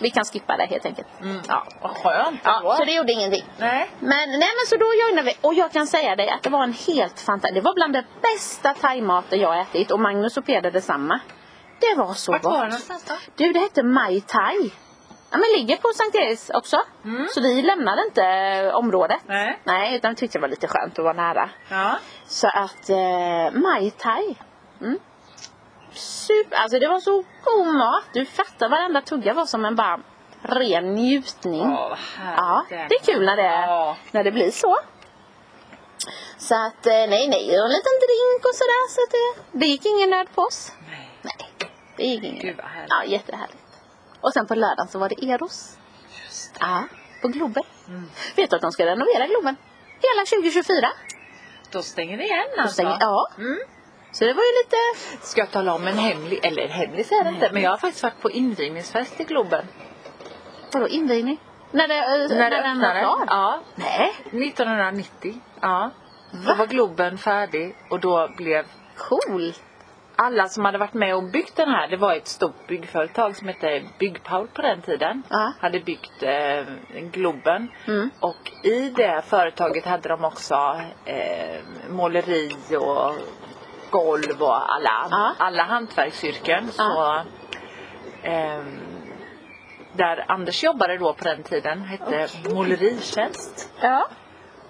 Speaker 1: vi kan skippa det helt enkelt.
Speaker 2: Ja, vad skönt det
Speaker 1: Ja,
Speaker 2: var.
Speaker 1: så det gjorde ingenting.
Speaker 2: Nej.
Speaker 1: Men, nej men så då joinade vi och jag kan säga dig att det var en helt fantastisk, det var bland det bästa thaimaten jag ätit och Magnus och Peder detsamma. Det var så
Speaker 3: Vart var det
Speaker 1: gott.
Speaker 3: någonstans då?
Speaker 1: Du det hette Mai Thai. Ja men ligger på Sankt Eriks också. Så vi lämnade inte eh, området.
Speaker 2: Nej.
Speaker 1: Nej utan vi tyckte det var lite skönt att vara nära.
Speaker 2: Ja.
Speaker 1: Så att eh, Mai Thai. Mm. Super, alltså det var så god mat. Du fattar varenda tugga var som en bara ren njutning.
Speaker 2: Åh, vad
Speaker 1: Mm. Ja,
Speaker 2: härligt.
Speaker 1: det är kul när det,
Speaker 2: Ja.
Speaker 1: när det blir så. Så att eh, nej, nej, och en liten drink och sådär. Så att det, det gick ingen nöd på oss.
Speaker 2: Nej.
Speaker 1: Nej, det gick ingen
Speaker 2: Gud,
Speaker 1: nöd.
Speaker 2: vad härligt.
Speaker 1: Ja, jättehärligt. Och sen på lördagen så var det Eros. Ja, på Globen.
Speaker 2: Mm.
Speaker 1: Vet du att de ska renovera Globen? Hela 2024.
Speaker 2: Då stänger det igen
Speaker 1: De
Speaker 2: alltså.
Speaker 1: stänger, ja.
Speaker 2: Mm.
Speaker 1: Så det var ju lite...
Speaker 2: Ska jag tala om en hemlig, eller en hemlig säger jag inte, men jag har faktiskt varit på invigningsfest i Globen.
Speaker 1: Vadå invigning? När, det, eh, när, den var klar?
Speaker 2: Ja.
Speaker 1: Nej,
Speaker 2: 1990. Ja. Då var Globen färdig och då blev
Speaker 1: cool.
Speaker 2: alla som hade varit med och byggt den här, det var ett stort byggföretag som hette Byggpaul på den tiden.
Speaker 1: Ja.
Speaker 2: Hade byggt eh, Globen.
Speaker 1: Mm.
Speaker 2: Och i det företaget hade de också eh, måleri och golv och alla,
Speaker 1: Ja.
Speaker 2: alla hantverksyrken.
Speaker 1: Ja.
Speaker 2: Så, ehm, där Anders jobbade då på den tiden hette Måleritjänst.
Speaker 1: Ja.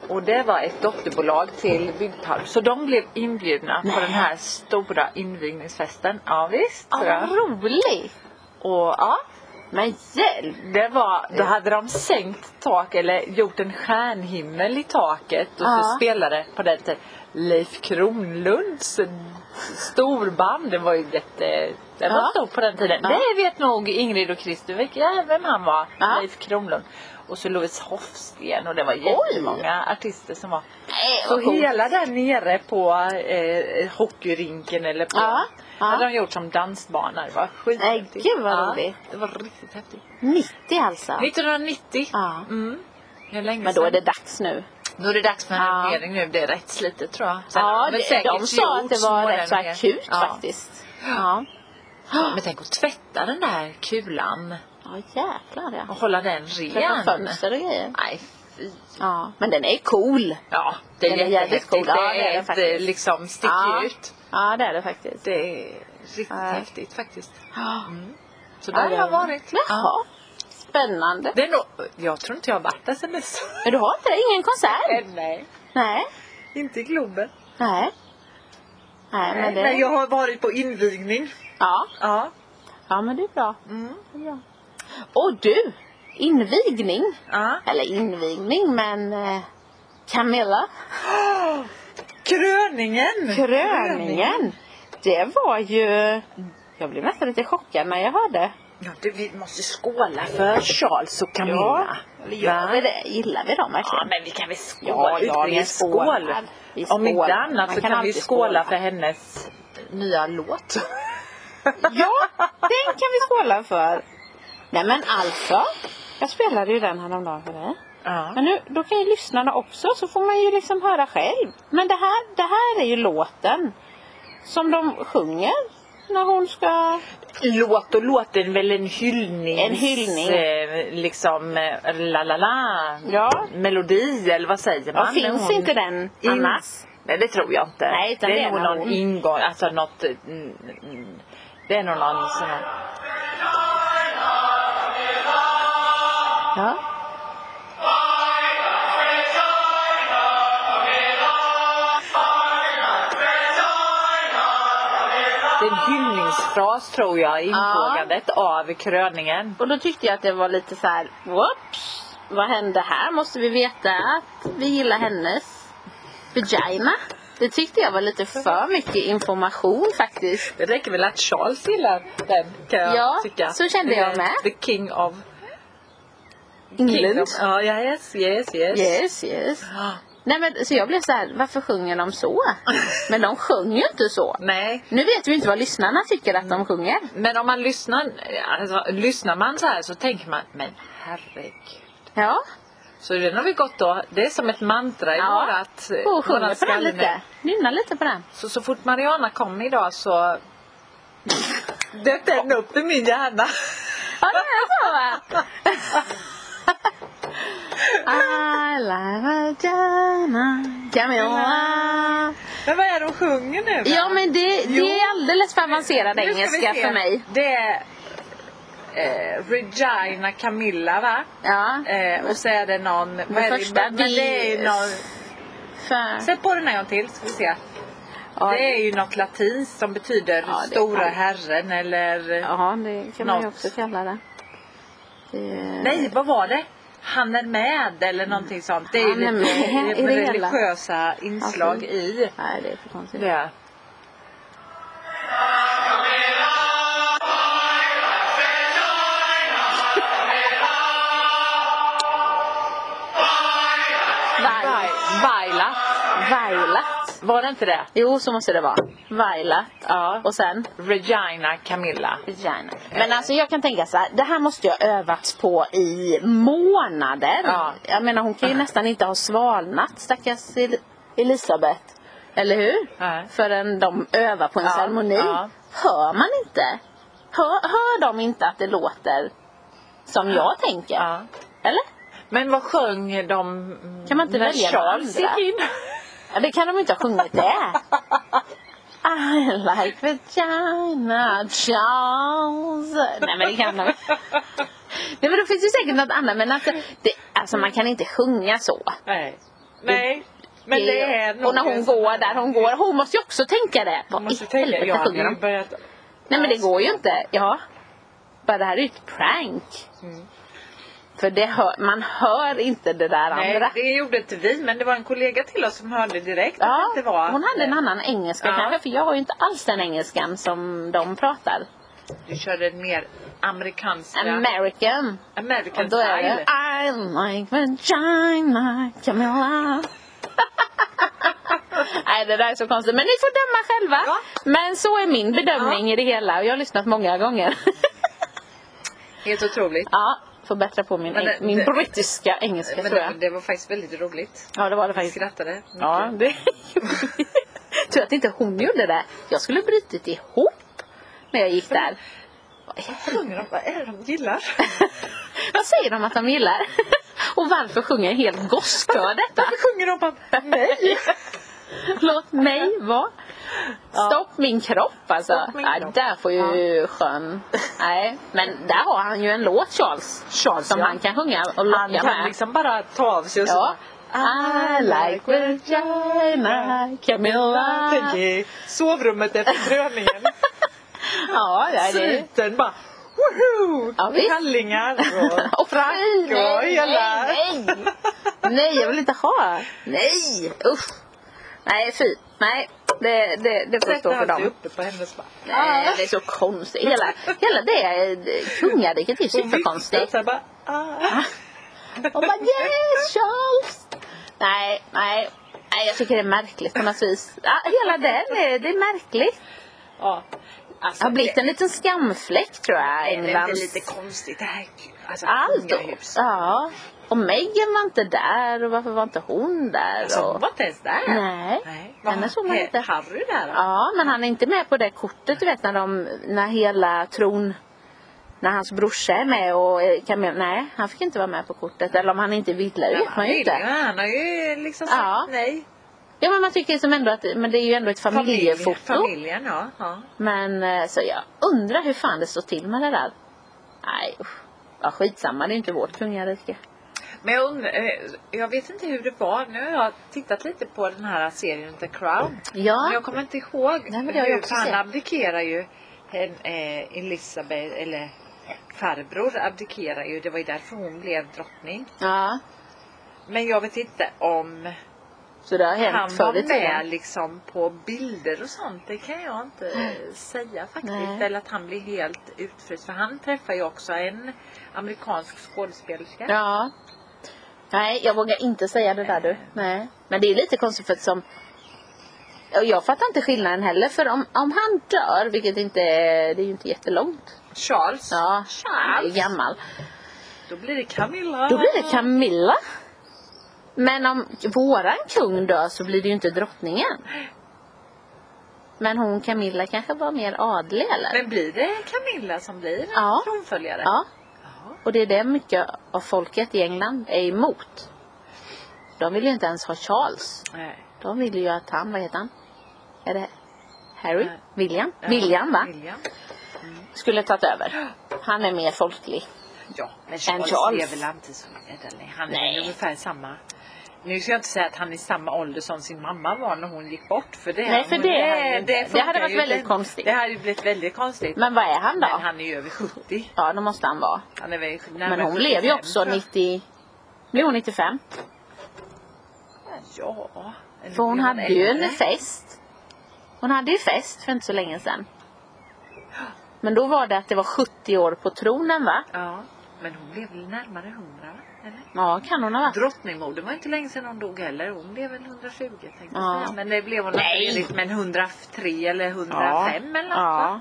Speaker 2: Och det var ett dotterbolag till Byggpaul. Så de blev inbjudna på den här stora invigningsfesten. Ja, visst.
Speaker 1: Ja,
Speaker 2: Ja.
Speaker 1: vad roligt.
Speaker 2: Och ja,
Speaker 1: Men hjälp!
Speaker 2: det var, då hade de sänkt tak eller gjort en stjärnhimmel i taket och
Speaker 1: Ja.
Speaker 2: så spelade på den tiden Leif Kronlunds storband. Det var ju jätte... Det var
Speaker 1: Ja.
Speaker 2: stort på den tiden.
Speaker 1: Ja.
Speaker 2: Det vet nog Ingrid och Christer vilka- vem han var,
Speaker 1: Ja.
Speaker 2: Leif Kronlund. Och så Louise Hofsten och det var
Speaker 1: Oj.
Speaker 2: jättemånga artister som var.
Speaker 1: Nej,
Speaker 2: Så
Speaker 1: vad coolt.
Speaker 2: hela där nere på eh, hockeyrinken eller på...
Speaker 1: Ja, ja.
Speaker 2: hade de gjort som dansbana. Det var skithäftigt.
Speaker 1: Nej, gud vad roligt.
Speaker 2: Det var riktigt häftigt.
Speaker 1: 90 alltså?
Speaker 2: 1990.
Speaker 1: Ja.
Speaker 2: Mm. Hur länge
Speaker 1: Men då är
Speaker 2: sedan?
Speaker 1: det dags nu.
Speaker 2: då är det dags för en
Speaker 1: Ja.
Speaker 2: renovering nu. Det är rättslitet tror jag. Sen har
Speaker 1: Ja,
Speaker 2: väl
Speaker 1: det,
Speaker 2: säkert
Speaker 1: de sa att
Speaker 2: gjort
Speaker 1: det var
Speaker 2: små
Speaker 1: rätt så
Speaker 2: renoveringar.
Speaker 1: akut
Speaker 2: Ja.
Speaker 1: faktiskt. Ja.
Speaker 2: Ja, Men tänk att tvätta den där kulan
Speaker 1: Ja, jäklar ja.
Speaker 2: och hålla den
Speaker 1: Tvätta
Speaker 2: ren.
Speaker 1: fönster och grejer.
Speaker 2: Nej, fy.
Speaker 1: Ja, men den är cool.
Speaker 2: Ja, det är
Speaker 1: Den är
Speaker 2: jättehäftigt.
Speaker 1: jävligt cool. Ja,
Speaker 2: det
Speaker 1: det är
Speaker 2: är
Speaker 1: den
Speaker 2: ett eh,
Speaker 1: faktiskt.
Speaker 2: liksom sticker
Speaker 1: Ja.
Speaker 2: ut.
Speaker 1: Ja, det är det faktiskt.
Speaker 2: Det är riktigt
Speaker 1: Ja.
Speaker 2: häftigt faktiskt.
Speaker 1: Ja.
Speaker 2: Mm. Så där
Speaker 1: Ja,
Speaker 2: har jag varit. Ja.
Speaker 1: Jaha. Spännande.
Speaker 2: Det är nog, jag tror inte jag har varit där sen dess.
Speaker 1: Men du har inte det? Ingen konsert?
Speaker 2: Nej,
Speaker 1: Nej.
Speaker 2: inte i Globen.
Speaker 1: Nej. Nej, men det...
Speaker 2: Men jag har varit på invigning.
Speaker 1: Ja.
Speaker 2: Ja.
Speaker 1: ja, men det är bra.
Speaker 2: Mm.
Speaker 1: Ja. Och du! Invigning.
Speaker 2: ja.
Speaker 1: Eller invigning, men... eh, Camilla.
Speaker 2: Kröningen!
Speaker 1: Kröningen! Det var ju... Jag blev nästan lite chockad när jag hörde.
Speaker 2: Ja, det, vi måste skåla för Charles och Camilla.
Speaker 1: Ja, eller gör vi det? Gillar vi dem
Speaker 2: Ja,
Speaker 1: verkligen?
Speaker 2: men vi kan väl
Speaker 1: Ja,
Speaker 2: skåla?
Speaker 1: ja,
Speaker 2: Ut i
Speaker 1: vi
Speaker 2: en skål.
Speaker 1: skålar. Vi
Speaker 2: Om inte
Speaker 1: skålar.
Speaker 2: annat
Speaker 1: Man
Speaker 2: så
Speaker 1: kan
Speaker 2: kan, vi
Speaker 1: alltid
Speaker 2: skåla,
Speaker 1: skåla.
Speaker 2: för hennes nya låt.
Speaker 1: Ja, den kan vi skåla för. Nej men alltså. Jag spelade ju den häromdagen för dig.
Speaker 2: Ja.
Speaker 1: Men nu, då kan ju lyssnarna också, så får man ju liksom höra själv. Men det här, det här är ju låten som de sjunger när hon ska...
Speaker 2: Låt och låt är väl en hyllning.
Speaker 1: En hyllning.
Speaker 2: Eh, liksom eh, la la la.
Speaker 1: Ja.
Speaker 2: Melodi eller vad säger
Speaker 1: Ja,
Speaker 2: man?
Speaker 1: finns
Speaker 2: Hon-
Speaker 1: inte den
Speaker 2: In-
Speaker 1: annars?
Speaker 2: Nej det tror jag inte.
Speaker 1: Nej, utan
Speaker 2: det
Speaker 1: det
Speaker 2: är
Speaker 1: är
Speaker 2: nog
Speaker 1: när
Speaker 2: någon
Speaker 1: hon-
Speaker 2: ingång, alltså något... mm, mm, Det är nog någon sån här...
Speaker 1: Ja.
Speaker 2: Det är en hyllningsfras tror jag i infrågandet av kröningen.
Speaker 1: Och då tyckte jag att det var lite så här, whoops, vad hände här? Måste vi veta att vi gillar hennes vagina? Det tyckte jag var lite för mycket information faktiskt.
Speaker 2: Det räcker väl att Charles gillar den kan jag
Speaker 1: Ja,
Speaker 2: tycka.
Speaker 1: så kände
Speaker 2: Det är
Speaker 1: jag med.
Speaker 2: The king of...
Speaker 1: England.
Speaker 2: Kingdom. Ja, yes, yes, yes.
Speaker 1: Yes, yes.
Speaker 2: Ja.
Speaker 1: Nej men så jag blev så här, varför sjunger de så? Men de sjunger ju inte så.
Speaker 2: Nej.
Speaker 1: Nu vet vi inte vad lyssnarna tycker att de sjunger.
Speaker 2: Men om man lyssnar, alltså, lyssnar man så här så tänker man, men herregud.
Speaker 1: Ja,
Speaker 2: Så den har vi gått då. Det är som ett mantra i
Speaker 1: Ja.
Speaker 2: vårat,
Speaker 1: och sjunger
Speaker 2: våran
Speaker 1: på den
Speaker 2: skalle nu.
Speaker 1: lite. Nynna lite på den.
Speaker 2: Så, så fort Mariana kom idag så dök den upp i min hjärna.
Speaker 1: Ja, det är så va? I love Jana, Jamila.
Speaker 2: Men vad är det hon sjunger nu? va?
Speaker 1: Ja men det, det är alldeles för avancerad
Speaker 2: Nu ska vi
Speaker 1: engelska
Speaker 2: se.
Speaker 1: för mig.
Speaker 2: Det är eh, Regina Camilla va?
Speaker 1: Ja.
Speaker 2: Eh, och så är det någon... vad är det?
Speaker 1: första,
Speaker 2: men det är ju
Speaker 1: det-
Speaker 2: någon...
Speaker 1: För,
Speaker 2: Sätt på den en gång till ska vi se.
Speaker 1: ja,
Speaker 2: Det är ju något latinskt som betyder
Speaker 1: Ja, det-
Speaker 2: stora herren eller...
Speaker 1: ja, det kan man ju
Speaker 2: något.
Speaker 1: också kalla det. Det-
Speaker 2: Nej, vad var det? Han är med eller någonting sånt. Det är
Speaker 1: Han är
Speaker 2: ju
Speaker 1: med
Speaker 2: lite
Speaker 1: i det hela.
Speaker 2: religiösa inslag
Speaker 1: Absolut.
Speaker 2: i
Speaker 1: Nej, det är för konstigt.
Speaker 2: det.
Speaker 1: Vail-
Speaker 2: Vaila.
Speaker 1: Vailat.
Speaker 2: Var det inte det?
Speaker 1: Jo, så måste det vara. Vailat.
Speaker 2: Ja.
Speaker 1: Och sen?
Speaker 2: Regina Camilla.
Speaker 1: Gärna. Men alltså jag kan tänka så här, det här måste ju ha övats på i månader.
Speaker 2: Ja.
Speaker 1: Jag menar hon kan ju nästan inte ha svalnat stackars El- Elisabeth. Eller hur?
Speaker 2: Nej.
Speaker 1: Förrän de övar på en
Speaker 2: Ja,
Speaker 1: ceremoni.
Speaker 2: ja.
Speaker 1: Hör man inte? Hör, hör de inte att det låter som jag tänker?
Speaker 2: Ja.
Speaker 1: Eller?
Speaker 2: Men vad sjöng de
Speaker 1: Kan man inte
Speaker 2: när
Speaker 1: välja
Speaker 2: Charles
Speaker 1: några andra?
Speaker 2: gick in?
Speaker 1: Ja, det kan de inte ha sjungit det. I like vagina Charles. Nej men det kan de Nej men då finns det säkert något annat men alltså, det, alltså man kan inte sjunga så.
Speaker 2: Nej. Nej. Men det, är nog
Speaker 1: Och när hon
Speaker 2: en-
Speaker 1: går där hon går, hon måste ju också tänka det.
Speaker 2: Man
Speaker 1: Vad
Speaker 2: måste
Speaker 1: i
Speaker 2: tänka,
Speaker 1: helvete
Speaker 2: jag hade
Speaker 1: sjunger
Speaker 2: ju
Speaker 1: de?
Speaker 2: börjat...
Speaker 1: Nej men det går ju inte. Ja. Bara det här är ju ett prank.
Speaker 2: Mm.
Speaker 1: För det hör, man hör inte det där andra.
Speaker 2: Nej, det gjorde inte vi, men det var en kollega till oss som hörde direkt
Speaker 1: Ja,
Speaker 2: att det inte var...
Speaker 1: hon hade en annan engelska
Speaker 2: Ja.
Speaker 1: kanske för jag har ju inte alls den engelskan som de pratar.
Speaker 2: Du körde en mer amerikanska...
Speaker 1: American.
Speaker 2: American
Speaker 1: Och då är det
Speaker 2: style.
Speaker 1: I like vagina Camilla. Nej det där är så konstigt men ni får döma själva.
Speaker 2: Ja.
Speaker 1: Men så är min bedömning i det hela och jag har lyssnat många gånger.
Speaker 2: Helt otroligt.
Speaker 1: ja, får bättra på min,
Speaker 2: Men det-
Speaker 1: eng- min
Speaker 2: det-
Speaker 1: brittiska engelska
Speaker 2: Men
Speaker 1: tror
Speaker 2: det,
Speaker 1: jag.
Speaker 2: det var faktiskt väldigt roligt.
Speaker 1: Ja det var det
Speaker 2: Jag
Speaker 1: faktiskt.
Speaker 2: skrattade mycket.
Speaker 1: Ja, det Tur att inte hon gjorde det. Jag skulle brutit ihop när jag gick där.
Speaker 2: Sjunger de? Vad är det de gillar?
Speaker 1: Vad säger de att de gillar? Och varför sjunger en hel gosskör detta?
Speaker 2: Varför sjunger de bara nej?
Speaker 1: Låt mig vara. Stopp min kropp alltså.
Speaker 2: Stopp min
Speaker 1: Nej,
Speaker 2: kropp.
Speaker 1: där får ju sjön... Nej, men där har han ju en låt Charles. Charles som
Speaker 2: ja.
Speaker 1: han kan sjunga och
Speaker 2: Han
Speaker 1: locka
Speaker 2: kan
Speaker 1: med.
Speaker 2: liksom bara ta av sig och så
Speaker 1: Ja.
Speaker 2: bara,
Speaker 1: I like vagina Camilla.
Speaker 2: Tänk i sovrummet efter drömningen.
Speaker 1: Ja, ja, det är...
Speaker 2: Sliten bara woho!
Speaker 1: Ja, visst.
Speaker 2: Kallingar och...
Speaker 1: Och Frank och
Speaker 2: Ja,
Speaker 1: nej,
Speaker 2: hela.
Speaker 1: nej, nej. nej, jag vill inte ha. Nej, usch. Nej, fy. Nej, det, det, det får stå för
Speaker 2: Sätter han
Speaker 1: dem.
Speaker 2: sig uppe på hennes bara...
Speaker 1: Nej, det är så konstigt. Hela, hela det eh, kungariket är ju superkonstigt.
Speaker 2: Så här bara, ah.
Speaker 1: Och bara yes Charles! Nej, nej. Nej, jag tycker det är märkligt på något vis. Ja, hela den, är, det är märkligt.
Speaker 2: ja.
Speaker 1: Det har blivit en liten skamfläck tror jag,
Speaker 2: Är det inte
Speaker 1: Englands
Speaker 2: lite konstigt? Det här är kul. alltså,
Speaker 1: Allt då.
Speaker 2: kungahus.
Speaker 1: Ja. Och Meghan var inte där och varför var inte hon där?
Speaker 2: Alltså, hon
Speaker 1: och...
Speaker 2: var inte ens där.
Speaker 1: Nej.
Speaker 2: Nej.
Speaker 1: Henne
Speaker 2: Var
Speaker 1: såg man
Speaker 2: He-
Speaker 1: inte.
Speaker 2: Harry där då?
Speaker 1: Ja, men han är inte med på det kortet du vet när de, när hela tron, när hans brorsa är med och eh, Camilla, nej han fick inte vara med på kortet. Eller om han inte ville, det
Speaker 2: Men
Speaker 1: vet
Speaker 2: han
Speaker 1: man ju
Speaker 2: vill
Speaker 1: inte.
Speaker 2: Han har ju liksom sagt
Speaker 1: Ja.
Speaker 2: nej.
Speaker 1: Ja men man tycker som ändå att, men det är ju ändå ett familjefoto.
Speaker 2: Familjen, ja. ja.
Speaker 1: Men eh, så jag undrar hur fan det står till med det där. Nej usch. Ja skitsamma, det är inte vårt kungarike.
Speaker 2: Men jag, undrar, eh, jag vet inte hur det var. Nu har jag tittat lite på den här serien The Crown. Men
Speaker 1: Ja,
Speaker 2: jag kommer inte ihåg.
Speaker 1: Nej, men det har jag
Speaker 2: hur-
Speaker 1: också
Speaker 2: för han
Speaker 1: sett.
Speaker 2: abdikerar ju. En, eh, Elisabeth, eller farbror abdikerar ju. Det var ju därför hon blev drottning.
Speaker 1: ja.
Speaker 2: Men jag vet inte om
Speaker 1: Så det har
Speaker 2: han
Speaker 1: hänt
Speaker 2: var
Speaker 1: förr i tiden.
Speaker 2: med liksom på bilder och sånt. Det kan jag inte eh, säga faktiskt.
Speaker 1: Nej.
Speaker 2: Eller att han blir helt utfryst. För han träffar ju också en amerikansk skådespelerska.
Speaker 1: Ja. Nej, jag vågar inte säga det där du. Nej. Men det är lite konstigt för att som... och Jag fattar inte skillnaden heller för om, om han dör, vilket inte är... Det är ju inte jättelångt.
Speaker 2: Charles.
Speaker 1: Ja, han är ju
Speaker 2: Charles.
Speaker 1: gammal.
Speaker 2: Då blir det Camilla.
Speaker 1: Då blir det Camilla. Men om våran kung dör så blir det ju inte drottningen. Men hon Camilla kanske var mer adlig eller?
Speaker 2: Men blir det Camilla som blir
Speaker 1: Ja.
Speaker 2: tronföljare?
Speaker 1: Ja.
Speaker 2: Ja.
Speaker 1: Och det är det mycket av folket i England är emot. De vill ju inte ens ha Charles.
Speaker 2: Nej.
Speaker 1: De vill ju att han, vad heter han? Är det Harry?
Speaker 2: Nej.
Speaker 1: William? William va?
Speaker 2: William.
Speaker 1: Skulle tagit över. Han är mer folklig.
Speaker 2: Ja, men
Speaker 1: And
Speaker 2: Charles,
Speaker 1: Charles.
Speaker 2: är väl inte så ädelig. Han
Speaker 1: Nej.
Speaker 2: är ungefär samma. Nu ska jag inte säga att han är samma ålder som sin mamma var när hon gick bort. För det,
Speaker 1: Nej, för det är han inte. Det
Speaker 2: funkar
Speaker 1: hade varit
Speaker 2: ju
Speaker 1: väldigt
Speaker 2: inte.
Speaker 1: konstigt.
Speaker 2: Det hade ju blivit väldigt konstigt.
Speaker 1: Men vad är han då?
Speaker 2: Men han är ju över 70.
Speaker 1: Ja, det måste han vara.
Speaker 2: Han är väl
Speaker 1: Men hon blev ju också 90... Nu är hon 95.
Speaker 2: Ja. eller
Speaker 1: För hon
Speaker 2: blev
Speaker 1: hade ju
Speaker 2: äldre?
Speaker 1: en fest. Hon hade ju fest för inte så länge sedan. Men då var det att det var 70 år på tronen va?
Speaker 2: Ja. Men hon blev väl närmare 100 va? Eller?
Speaker 1: Ja, kan hon ha varit.
Speaker 2: Drottningmodern var inte länge sedan hon dog heller. Hon blev väl 120 tänkte jag
Speaker 1: Ja.
Speaker 2: säga. Men det blev hon
Speaker 1: Nej.
Speaker 2: naturligt. Men 103 eller 105 eller något.
Speaker 1: Ja.
Speaker 2: va?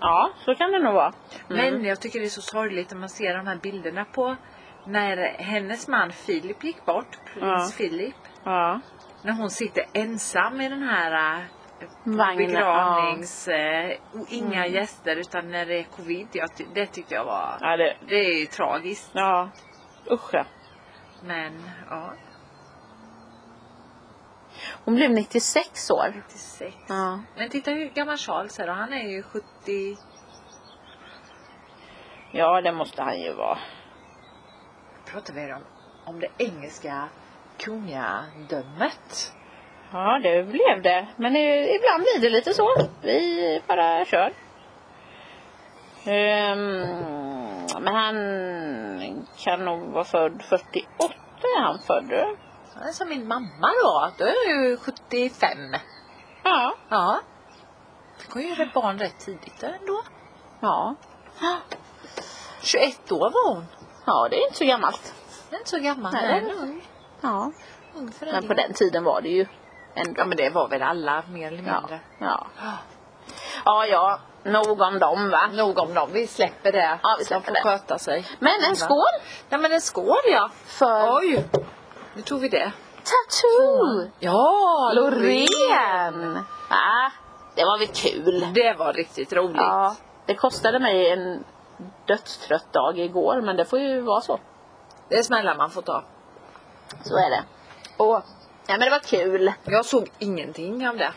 Speaker 1: ja, så kan det nog vara. Mm.
Speaker 2: Men jag tycker det är så sorgligt när man ser de här bilderna på när hennes man Filip gick bort, prins Filip.
Speaker 1: Ja.
Speaker 2: När hon sitter ensam i den här äh,
Speaker 1: Vagnen, Mm.
Speaker 2: begravnings... äh, Och inga gäster utan när det är covid. Jag, ty- det tyckte jag var...
Speaker 1: Ja, det...
Speaker 2: Det är ju tragiskt.
Speaker 1: Ja. Usch ja.
Speaker 2: Men ja,
Speaker 1: Hon blev 96 år.
Speaker 2: 96.
Speaker 1: Ja.
Speaker 2: Men titta hur gammal Charles är då. Han är ju 70...
Speaker 1: Ja, det måste han ju vara.
Speaker 2: Pratar vi om, om det engelska kungadömet?
Speaker 1: Ja, det blev det. Men eh, ibland blir det lite så. Vi bara kör. Ehm, men han kan nog vara född 48 är han född. du.
Speaker 2: Han är som min mamma då. Då är jag ju 75.
Speaker 1: Ja.
Speaker 2: Ja. Fick hon ju rätt barn rätt tidigt ändå.
Speaker 1: Ja.
Speaker 2: 21 år var hon.
Speaker 1: Ja, det är inte så gammalt.
Speaker 2: Det är inte så gammal.
Speaker 1: Nej,
Speaker 2: Nej,
Speaker 1: det
Speaker 2: en
Speaker 1: är
Speaker 2: ung,
Speaker 1: Ja.
Speaker 2: ung förälder.
Speaker 1: Men på den tiden var det ju ändå.
Speaker 2: Ja men det var väl alla mer eller mindre.
Speaker 1: Ja. Ja, ja. Nog om dem va.
Speaker 2: Nog om dem. Vi släpper det.
Speaker 1: Ja, vi släpper
Speaker 2: De
Speaker 1: det.
Speaker 2: får sköta sig.
Speaker 1: Men en skål
Speaker 2: Nej men en skål ja.
Speaker 1: för
Speaker 2: Oj. Nu tog vi det.
Speaker 1: Tattoo!
Speaker 2: Ja,
Speaker 1: Loreen! Ja, det var väl kul.
Speaker 2: Det var riktigt roligt.
Speaker 1: Ja, det kostade mig en dödstrött dag igår men det får ju vara så.
Speaker 2: Det är smällar man får ta.
Speaker 1: Så är det. Och, ja men det var kul.
Speaker 2: Jag såg ingenting av det.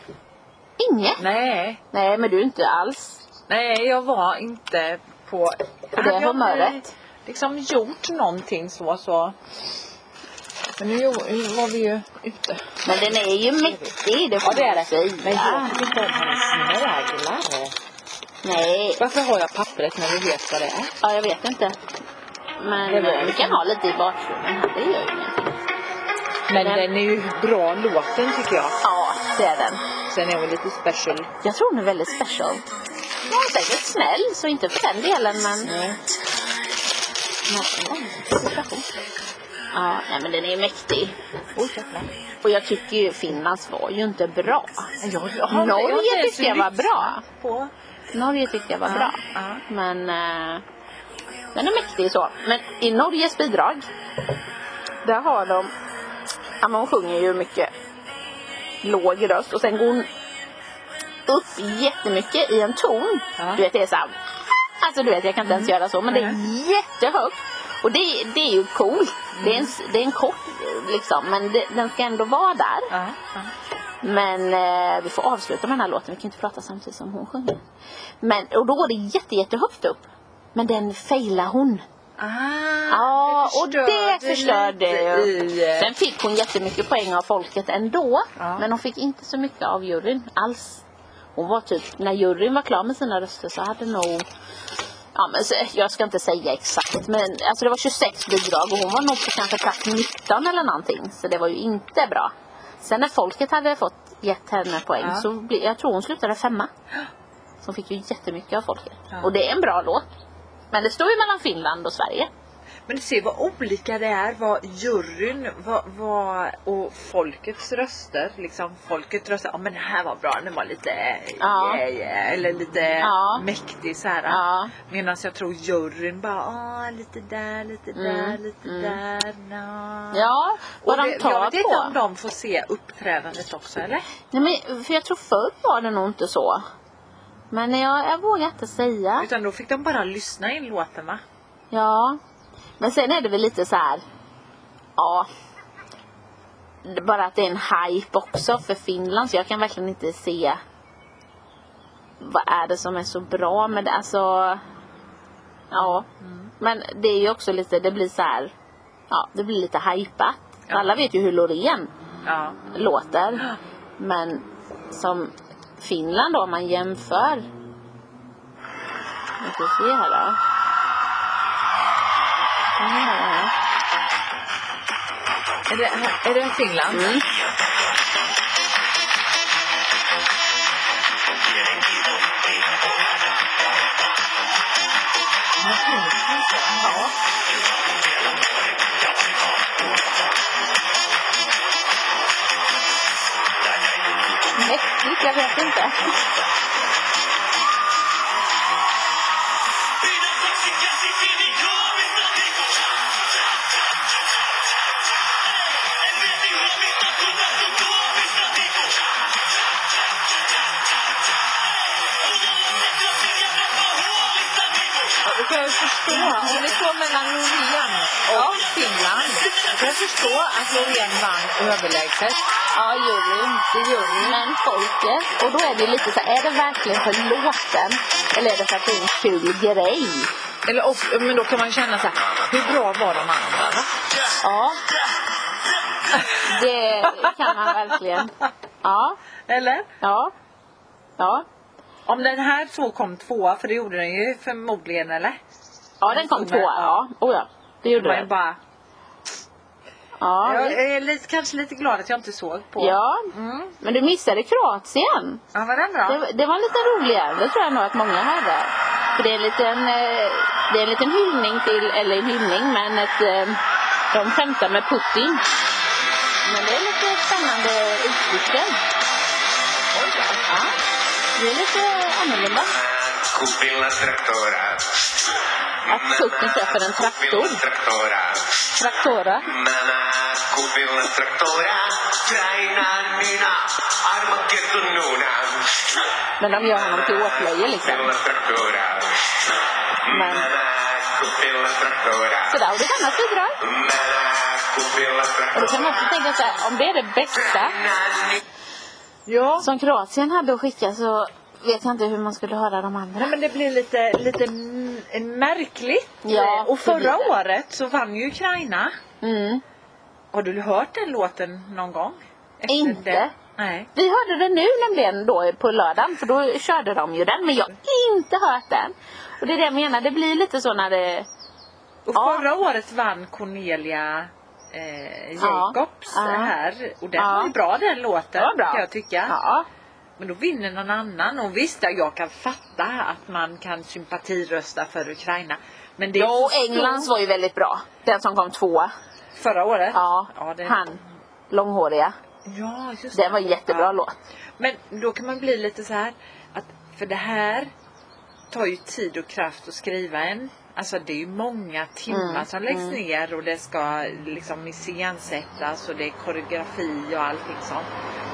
Speaker 1: Inget?
Speaker 2: Nej.
Speaker 1: Nej men du inte alls.
Speaker 2: Nej, jag var inte på...
Speaker 1: det
Speaker 2: Hade jag
Speaker 1: humöret?
Speaker 2: inte liksom gjort någonting så så... Men nu jo- nu var vi ju ute.
Speaker 1: Men den är ju mäktig, det får man säga.
Speaker 2: Men jag tycker inte om hans snöglar.
Speaker 1: Nej,
Speaker 2: Varför har jag pappret när vi vet vad det är?
Speaker 1: ja, jag vet inte. Men
Speaker 2: Det var-
Speaker 1: eh, vi kan ha lite i bakgrunden här, det gör ju ingenting.
Speaker 2: Men
Speaker 1: Men-
Speaker 2: den är ju bra låten tycker jag.
Speaker 1: Ja, det är den.
Speaker 2: Sen är hon lite special.
Speaker 1: Jag tror hon är väldigt special. Hon är säkert snäll, så inte för den delen men...
Speaker 2: Nej.
Speaker 1: Ja, nej men den är ju mäktig.
Speaker 2: Oj, jävlar.
Speaker 1: Och jag tycker ju Finlands var ju inte bra.
Speaker 2: jag, jag, har-
Speaker 1: Norge
Speaker 2: har inte ens
Speaker 1: tyckte jag var
Speaker 2: lyssnat
Speaker 1: bra.
Speaker 2: På.
Speaker 1: Norge tyckte jag var bra.
Speaker 2: ja.
Speaker 1: Men eh, den är mäktig så. Men i Norges bidrag, där har de, ja men hon sjunger ju mycket låg röst och sen går hon upp jättemycket i en ton.
Speaker 2: Ja. Mm.
Speaker 1: Du vet det är såhär, alltså du vet jag kan inte ens göra så men det är jättehögt. Och det, det är ju coolt. Det,
Speaker 2: Mm.
Speaker 1: är en, s- det är en kort liksom men det, den ska ändå vara där.
Speaker 2: Ja, ja.
Speaker 1: Men eh, vi får avsluta med den här låten. Vi kan inte prata samtidigt som hon sjunger. Men, och då går det jätte, jättehögt upp. Men den failar hon.
Speaker 2: Ah,
Speaker 1: Ja, och det förstörde
Speaker 2: lite
Speaker 1: ju.
Speaker 2: i, eh,
Speaker 1: Sen fick hon jättemycket poäng av folket ändå.
Speaker 2: Ja.
Speaker 1: Men hon fick inte så mycket av juryn alls. Hon var typ, när juryn var klar med sina röster så hade nog Ja, men så, jag ska inte säga exakt men alltså det var 26 bidrag och hon var nog på kanske plats 19 eller någonting så det var ju inte bra. Sen när folket hade fått gett henne poäng
Speaker 2: Ja.
Speaker 1: så bli, jag tror hon slutade femma. Så hon fick ju jättemycket av folket.
Speaker 2: Ja.
Speaker 1: Och det är en bra låt. Men det står ju mellan Finland och Sverige.
Speaker 2: Men du ser vad olika det är, vad juryn vad, vad, och folkets röster. Liksom folket röstar, ja men den här var bra, den var lite
Speaker 1: Ja.
Speaker 2: yeah, yeah, eller lite
Speaker 1: Ja.
Speaker 2: mäktig så här.
Speaker 1: Ja.
Speaker 2: Medan jag tror juryn bara, ah, lite där, lite där,
Speaker 1: Mm,
Speaker 2: lite
Speaker 1: mm.
Speaker 2: där, nja.
Speaker 1: Ja,
Speaker 2: Och
Speaker 1: vad
Speaker 2: det,
Speaker 1: de tar
Speaker 2: jag vet inte
Speaker 1: på.
Speaker 2: om de får se uppträdandet också eller?
Speaker 1: Nej, men, för jag tror förr var det nog inte så. Men jag, jag vågar inte säga.
Speaker 2: Utan då fick de bara lyssna in låten va?
Speaker 1: Ja. Men sen är det väl lite så här. Ja. Det är Bara att det är en hype också för Finland. Så jag kan verkligen inte se. Vad är det som är så bra med det? Alltså. Ja.
Speaker 2: Mm.
Speaker 1: Men det är ju också lite, det blir så här. Ja, det blir lite hypat.
Speaker 2: Ja.
Speaker 1: Alla vet ju hur Loreen
Speaker 2: Ja.
Speaker 1: låter. Men som Finland då, om man jämför. Vi ska se här då. Ah,
Speaker 2: Är det, är det Finland?
Speaker 1: Mm.
Speaker 2: Ja.
Speaker 1: Äckligt, jag vet inte.
Speaker 4: Du kan ju förstå, om det står mellan Loreen och Finland. Du kan förstå att Loreen vann överlägset.
Speaker 1: Ja, juryn. Det är juryn. Men folket. Och då är det lite så här, är det verkligen för låten? Eller är det för att det är en kul grej?
Speaker 4: Eller, of- men då kan man känna så här, hur bra var de andra va?
Speaker 1: Ja. Det kan man verkligen. Ja.
Speaker 2: Eller?
Speaker 1: Ja. Ja.
Speaker 2: Om den här två kom tvåa, för det gjorde den ju förmodligen eller?
Speaker 1: Ja, den kom tvåa. Ja. Oh, ja. Det
Speaker 2: Det
Speaker 1: gjorde
Speaker 2: var ju
Speaker 1: den.
Speaker 2: bara,
Speaker 1: Ja,
Speaker 2: jag
Speaker 1: visst.
Speaker 2: är lite, kanske lite glad att jag inte såg på.
Speaker 1: ja,
Speaker 2: Mm.
Speaker 1: men du missade Kroatien.
Speaker 2: Ja, var den bra?
Speaker 1: Det, det var en liten roligare. Det tror jag nog att många hörde. För det är en liten, eh, det är en liten hyllning till, eller en hyllning, men ett, eh, de skämtar med Putin. Men det är lite spännande utflykter. Ja, det är lite annorlunda.
Speaker 5: Kupil na traktora.
Speaker 1: Att Putin köper en
Speaker 5: Kupil
Speaker 1: traktor,
Speaker 5: na traktora.
Speaker 1: traktora.
Speaker 5: Nana, kupil na traktora. Krajina mina. Armageddonuna.
Speaker 1: Men de gör honom till åtlöje liksom.
Speaker 5: Kupil na traktora.
Speaker 1: Men-
Speaker 5: Nana, kupil na traktora.
Speaker 1: Sådär, och det är ett annat bidrag.
Speaker 5: Nana, kupil na
Speaker 1: Och då kan
Speaker 5: traktora.
Speaker 1: man också tänka så här, om det är det bästa
Speaker 2: Ja.
Speaker 1: som Kroatien hade att skicka så vet jag inte hur man skulle höra de andra.
Speaker 2: Nej, men det blir lite, lite m- märkligt.
Speaker 1: Ja,
Speaker 2: och
Speaker 1: det
Speaker 2: förra
Speaker 1: blir det.
Speaker 2: året så vann ju Ukraina.
Speaker 1: Mm.
Speaker 2: Har du hört den låten någon gång? Efter
Speaker 1: Inte.
Speaker 2: det? Nej.
Speaker 1: Vi hörde den nu nämligen då på lördagen för då körde de ju den men jag har inte hört den. Och det är det jag menar, det blir lite så när det...
Speaker 2: Och
Speaker 1: Ja.
Speaker 2: förra året vann Cornelia eh,
Speaker 1: Ja.
Speaker 2: Jacobs
Speaker 1: Ja.
Speaker 2: här. Och den
Speaker 1: Ja.
Speaker 2: var ju bra den låten
Speaker 1: Det var bra.
Speaker 2: kan jag tycka.
Speaker 1: Ja.
Speaker 2: Men då vinner någon annan. Och visst, ja, jag kan fatta att man kan sympatirösta för Ukraina. Men det är
Speaker 1: Jo,
Speaker 2: så
Speaker 1: Englands
Speaker 2: stor-
Speaker 1: var ju väldigt bra. Den som kom tvåa.
Speaker 2: Förra året?
Speaker 1: Ja,
Speaker 2: det...
Speaker 1: han. Långhåriga.
Speaker 2: Ja, just
Speaker 1: Den var en jättebra
Speaker 2: Ja.
Speaker 1: låt.
Speaker 2: Men då kan man bli lite så här att för det här tar ju tid och kraft att skriva en. Alltså det är ju många timmar
Speaker 1: Mm,
Speaker 2: som läggs
Speaker 1: mm.
Speaker 2: ner och det ska liksom iscensättas och det är koreografi och allting sånt.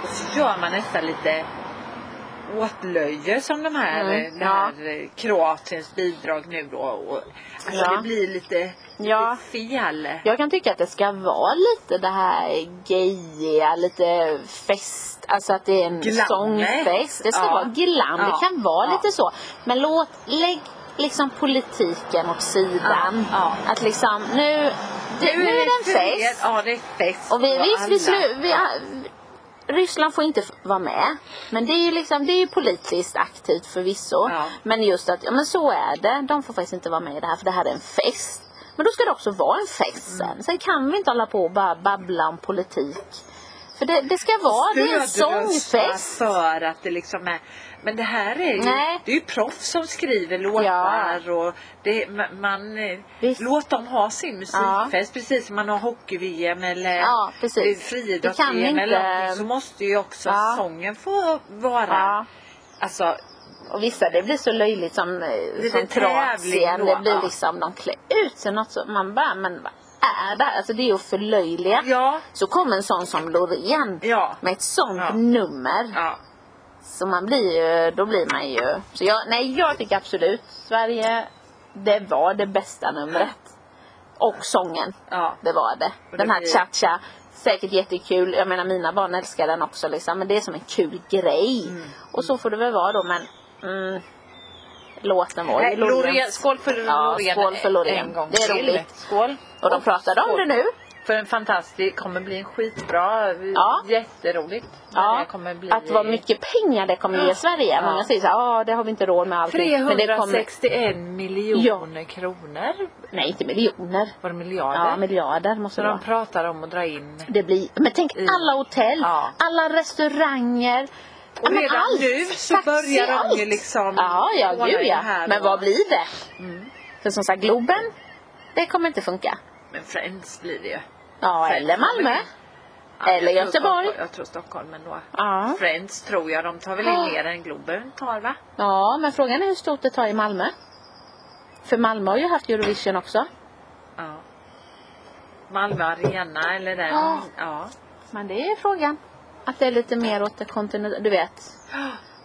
Speaker 2: Och så gör man nästan lite åtlöje som de här,
Speaker 1: Mm,
Speaker 2: eh, det här eh, Kroatiens bidrag nu då. Och, alltså
Speaker 1: Ja.
Speaker 2: det blir lite, lite
Speaker 1: Ja.
Speaker 2: fel.
Speaker 1: Jag kan tycka att det ska vara lite det här gayiga, lite fest, alltså att det är en
Speaker 2: Glammet.
Speaker 1: sångfest. Det ska
Speaker 2: Ja.
Speaker 1: vara glam,
Speaker 2: Ja.
Speaker 1: det kan vara
Speaker 2: Ja.
Speaker 1: lite så. Men låt, lägg liksom politiken åt sidan.
Speaker 2: Ja.
Speaker 1: Att liksom nu, det, nu är det en
Speaker 2: fel.
Speaker 1: fest.
Speaker 2: Ja det är fest.
Speaker 1: Och vi, visst, vi,
Speaker 2: alla-
Speaker 1: slu, vi, Ryssland får inte f- vara med. Men det är ju liksom, det är ju politiskt aktivt förvisso.
Speaker 2: Ja.
Speaker 1: Men just att, ja men så är det. De får faktiskt inte vara med i det här för det här är en fest.
Speaker 2: Mm.
Speaker 1: Men då ska det också vara en fest sen. Sen kan vi inte hålla på och bara babbla om politik. För För det, det ska vara, det är en
Speaker 2: Stödrösta
Speaker 1: sångfest.
Speaker 2: för att det liksom är... Men det här är ju,
Speaker 1: Nej.
Speaker 2: det är ju proffs som skriver låtar och det, ma- man... eh,
Speaker 1: Visst.
Speaker 2: Låt dem ha sin musikfest precis som man har hockey-VM eller
Speaker 1: Ja, precis.
Speaker 2: eh,
Speaker 1: Det kan
Speaker 2: friidrotts-VM
Speaker 1: inte-
Speaker 2: eller någonting så måste ju också
Speaker 1: Ja.
Speaker 2: sången få vara...
Speaker 1: Ja.
Speaker 2: Alltså,
Speaker 1: Och vissa det blir så löjligt som,
Speaker 2: blir
Speaker 1: det som
Speaker 2: en tävling
Speaker 1: Kroatien.
Speaker 2: då,
Speaker 1: Det blir
Speaker 2: ja.
Speaker 1: liksom, de klär ut sig något så man bara, men vad är det här? Alltså det är ju att förlöjliga.
Speaker 2: ja,
Speaker 1: Så kom en sån som Loreen
Speaker 2: ja,
Speaker 1: med ett sånt
Speaker 2: Ja.
Speaker 1: nummer.
Speaker 2: ja.
Speaker 1: Så man blir ju, då blir man ju... Så jag, nej, jag tycker absolut Sverige, det var det bästa numret. Och sången,
Speaker 2: ja.
Speaker 1: det var det.
Speaker 2: Och
Speaker 1: Den
Speaker 2: det
Speaker 1: här
Speaker 2: blir-
Speaker 1: cha-cha, säkert jättekul. Jag menar mina barn älskar den också liksom. Men det är som en kul
Speaker 2: Mm.
Speaker 1: grej. Och så får det väl vara då men... Mm, låten var
Speaker 2: Nej,
Speaker 1: ju Loreen.
Speaker 2: Loreen, skål för
Speaker 1: Ja,
Speaker 2: Loreen,
Speaker 1: skål för Loreen.
Speaker 2: en gång
Speaker 1: Det är
Speaker 2: till.
Speaker 1: roligt.
Speaker 2: Skål.
Speaker 1: Och de pratade om
Speaker 2: skål.
Speaker 1: det nu.
Speaker 2: För en fantastisk, kommer bli en skitbra,
Speaker 1: Ja.
Speaker 2: jätteroligt. Men
Speaker 1: Ja,
Speaker 2: det kommer bli
Speaker 1: att vad mycket pengar det kommer ge Sverige.
Speaker 2: Ja.
Speaker 1: Många säger så här, ah, det har vi inte råd med allting. Men det kommer,
Speaker 2: 361 miljoner kronor.
Speaker 1: nej inte miljoner.
Speaker 2: Var det miljarder?
Speaker 1: Ja, miljarder måste
Speaker 2: Så
Speaker 1: det
Speaker 2: de
Speaker 1: vara.
Speaker 2: pratar om att dra in.
Speaker 1: Det blir, men tänk
Speaker 2: I-
Speaker 1: alla hotell,
Speaker 2: Ja.
Speaker 1: alla restauranger.
Speaker 2: Och
Speaker 1: men
Speaker 2: redan
Speaker 1: allt,
Speaker 2: nu så
Speaker 1: taxi,
Speaker 2: börjar de ju
Speaker 1: allt.
Speaker 2: liksom
Speaker 1: Ja, ja
Speaker 2: ordna
Speaker 1: gud
Speaker 2: det
Speaker 1: ja.
Speaker 2: här
Speaker 1: Men
Speaker 2: och-
Speaker 1: vad blir det? För som sagt, Globen, det kommer inte funka.
Speaker 2: Men Friends blir det ju.
Speaker 1: Ja,
Speaker 2: Friends
Speaker 1: eller Malmö.
Speaker 2: kommer- Ja, jag
Speaker 1: Eller
Speaker 2: tror
Speaker 1: Göteborg.
Speaker 2: Stockholm- Jag tror Stockholm ändå.
Speaker 1: Ja.
Speaker 2: Friends tror jag, de tar väl in mer än Globen tar va?
Speaker 1: ja, men frågan är hur stort det tar i Malmö. För Malmö har ju haft Eurovision också.
Speaker 2: Ja. Malmö Arena eller den.
Speaker 1: Ja.
Speaker 2: Ja.
Speaker 1: Men det är frågan. Att det är lite mer åt det kontinentala, du vet.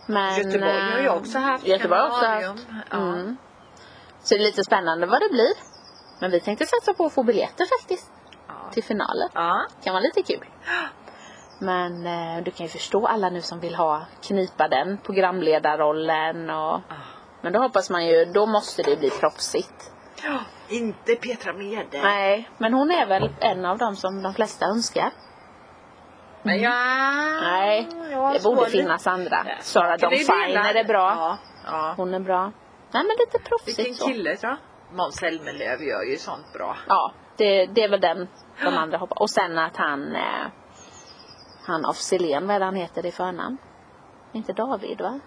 Speaker 1: Men, eh,
Speaker 2: Göteborg har ju också haft
Speaker 1: Göteborg har också haft.
Speaker 2: Kanarium. Ja.
Speaker 1: Mm. Så det är lite spännande vad det blir. Men vi tänkte satsa på att få biljetter faktiskt
Speaker 2: Ja.
Speaker 1: till finalen.
Speaker 2: ja.
Speaker 1: kan vara lite kul. Men eh, du kan ju förstå alla nu som vill ha knipa den programledarrollen och men då hoppas man ju, då måste det bli proffsigt.
Speaker 2: Ja. Inte Petra Mede.
Speaker 1: Nej, men hon är väl en av dem som de flesta önskar. Ah,
Speaker 2: Men ja.
Speaker 1: Nej,
Speaker 2: ja,
Speaker 1: det borde
Speaker 2: så-
Speaker 1: finnas andra.
Speaker 2: Ja.
Speaker 1: Sara
Speaker 2: Kan vi
Speaker 1: Dawn Finer
Speaker 2: dela?
Speaker 1: är bra.
Speaker 2: Ja. ja.
Speaker 1: Hon är bra. Nej men lite
Speaker 2: Vilken
Speaker 1: proffsigt så.
Speaker 2: kille då? Måns Zelmerlöw gör ju sånt bra.
Speaker 1: Ja, det, det är väl den de andra hoppas. Och sen att han, eh, han af Sillén, vad är det han heter i förnamn? Inte David va?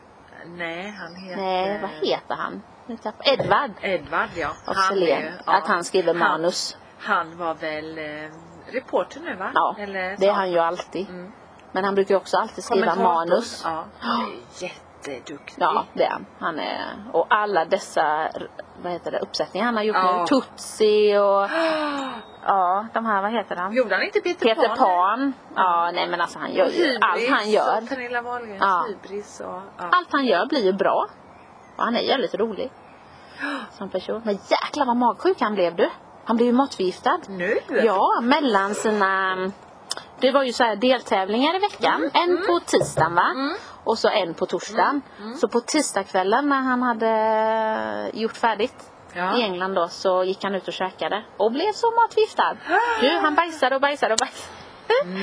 Speaker 2: Nej, han heter...
Speaker 1: Nej, vad heter han? Nu tappar- Edvard
Speaker 2: Edvard ja.
Speaker 1: af
Speaker 2: är ju-
Speaker 1: Sillén.
Speaker 2: ja.
Speaker 1: Att han skriver
Speaker 2: Han-
Speaker 1: manus.
Speaker 2: Han var väl eh, reporter nu va?
Speaker 1: Ja,
Speaker 2: Eller,
Speaker 1: det är han ju alltid.
Speaker 2: Mm.
Speaker 1: Men han brukar ju också alltid skriva
Speaker 2: Kommentator.
Speaker 1: manus.
Speaker 2: Ja. Han är jätteduktig.
Speaker 1: Ja, det är han. han är, och alla dessa vad heter det, uppsättningar han har gjort
Speaker 2: Ja.
Speaker 1: nu. Tutsi och
Speaker 2: Ah,
Speaker 1: ja, de här, vad heter han?
Speaker 2: Gjorde han inte Peter,
Speaker 1: Peter Pan. Ja, nej men alltså han gör ju allt han gör.
Speaker 2: Och Pernilla Wahlgrens
Speaker 1: Ja.
Speaker 2: hybris och... Ja.
Speaker 1: Allt han gör blir ju bra. Och han är jävligt rolig. Som person. Men jäklar vad magsjuk han blev du. Han blev ju matförgiftad.
Speaker 2: Nu?
Speaker 1: Ja, mellan sina... Det var ju så här deltävlingar i veckan.
Speaker 2: Mm.
Speaker 1: En på tisdagen va? Och så en på torsdagen.
Speaker 2: Mm.
Speaker 1: Så på tisdagskvällen när han hade gjort färdigt
Speaker 2: Ja.
Speaker 1: i England då så gick han ut och käkade och blev så matförgiftad. Du, han bajsade och bajsade och bajsade.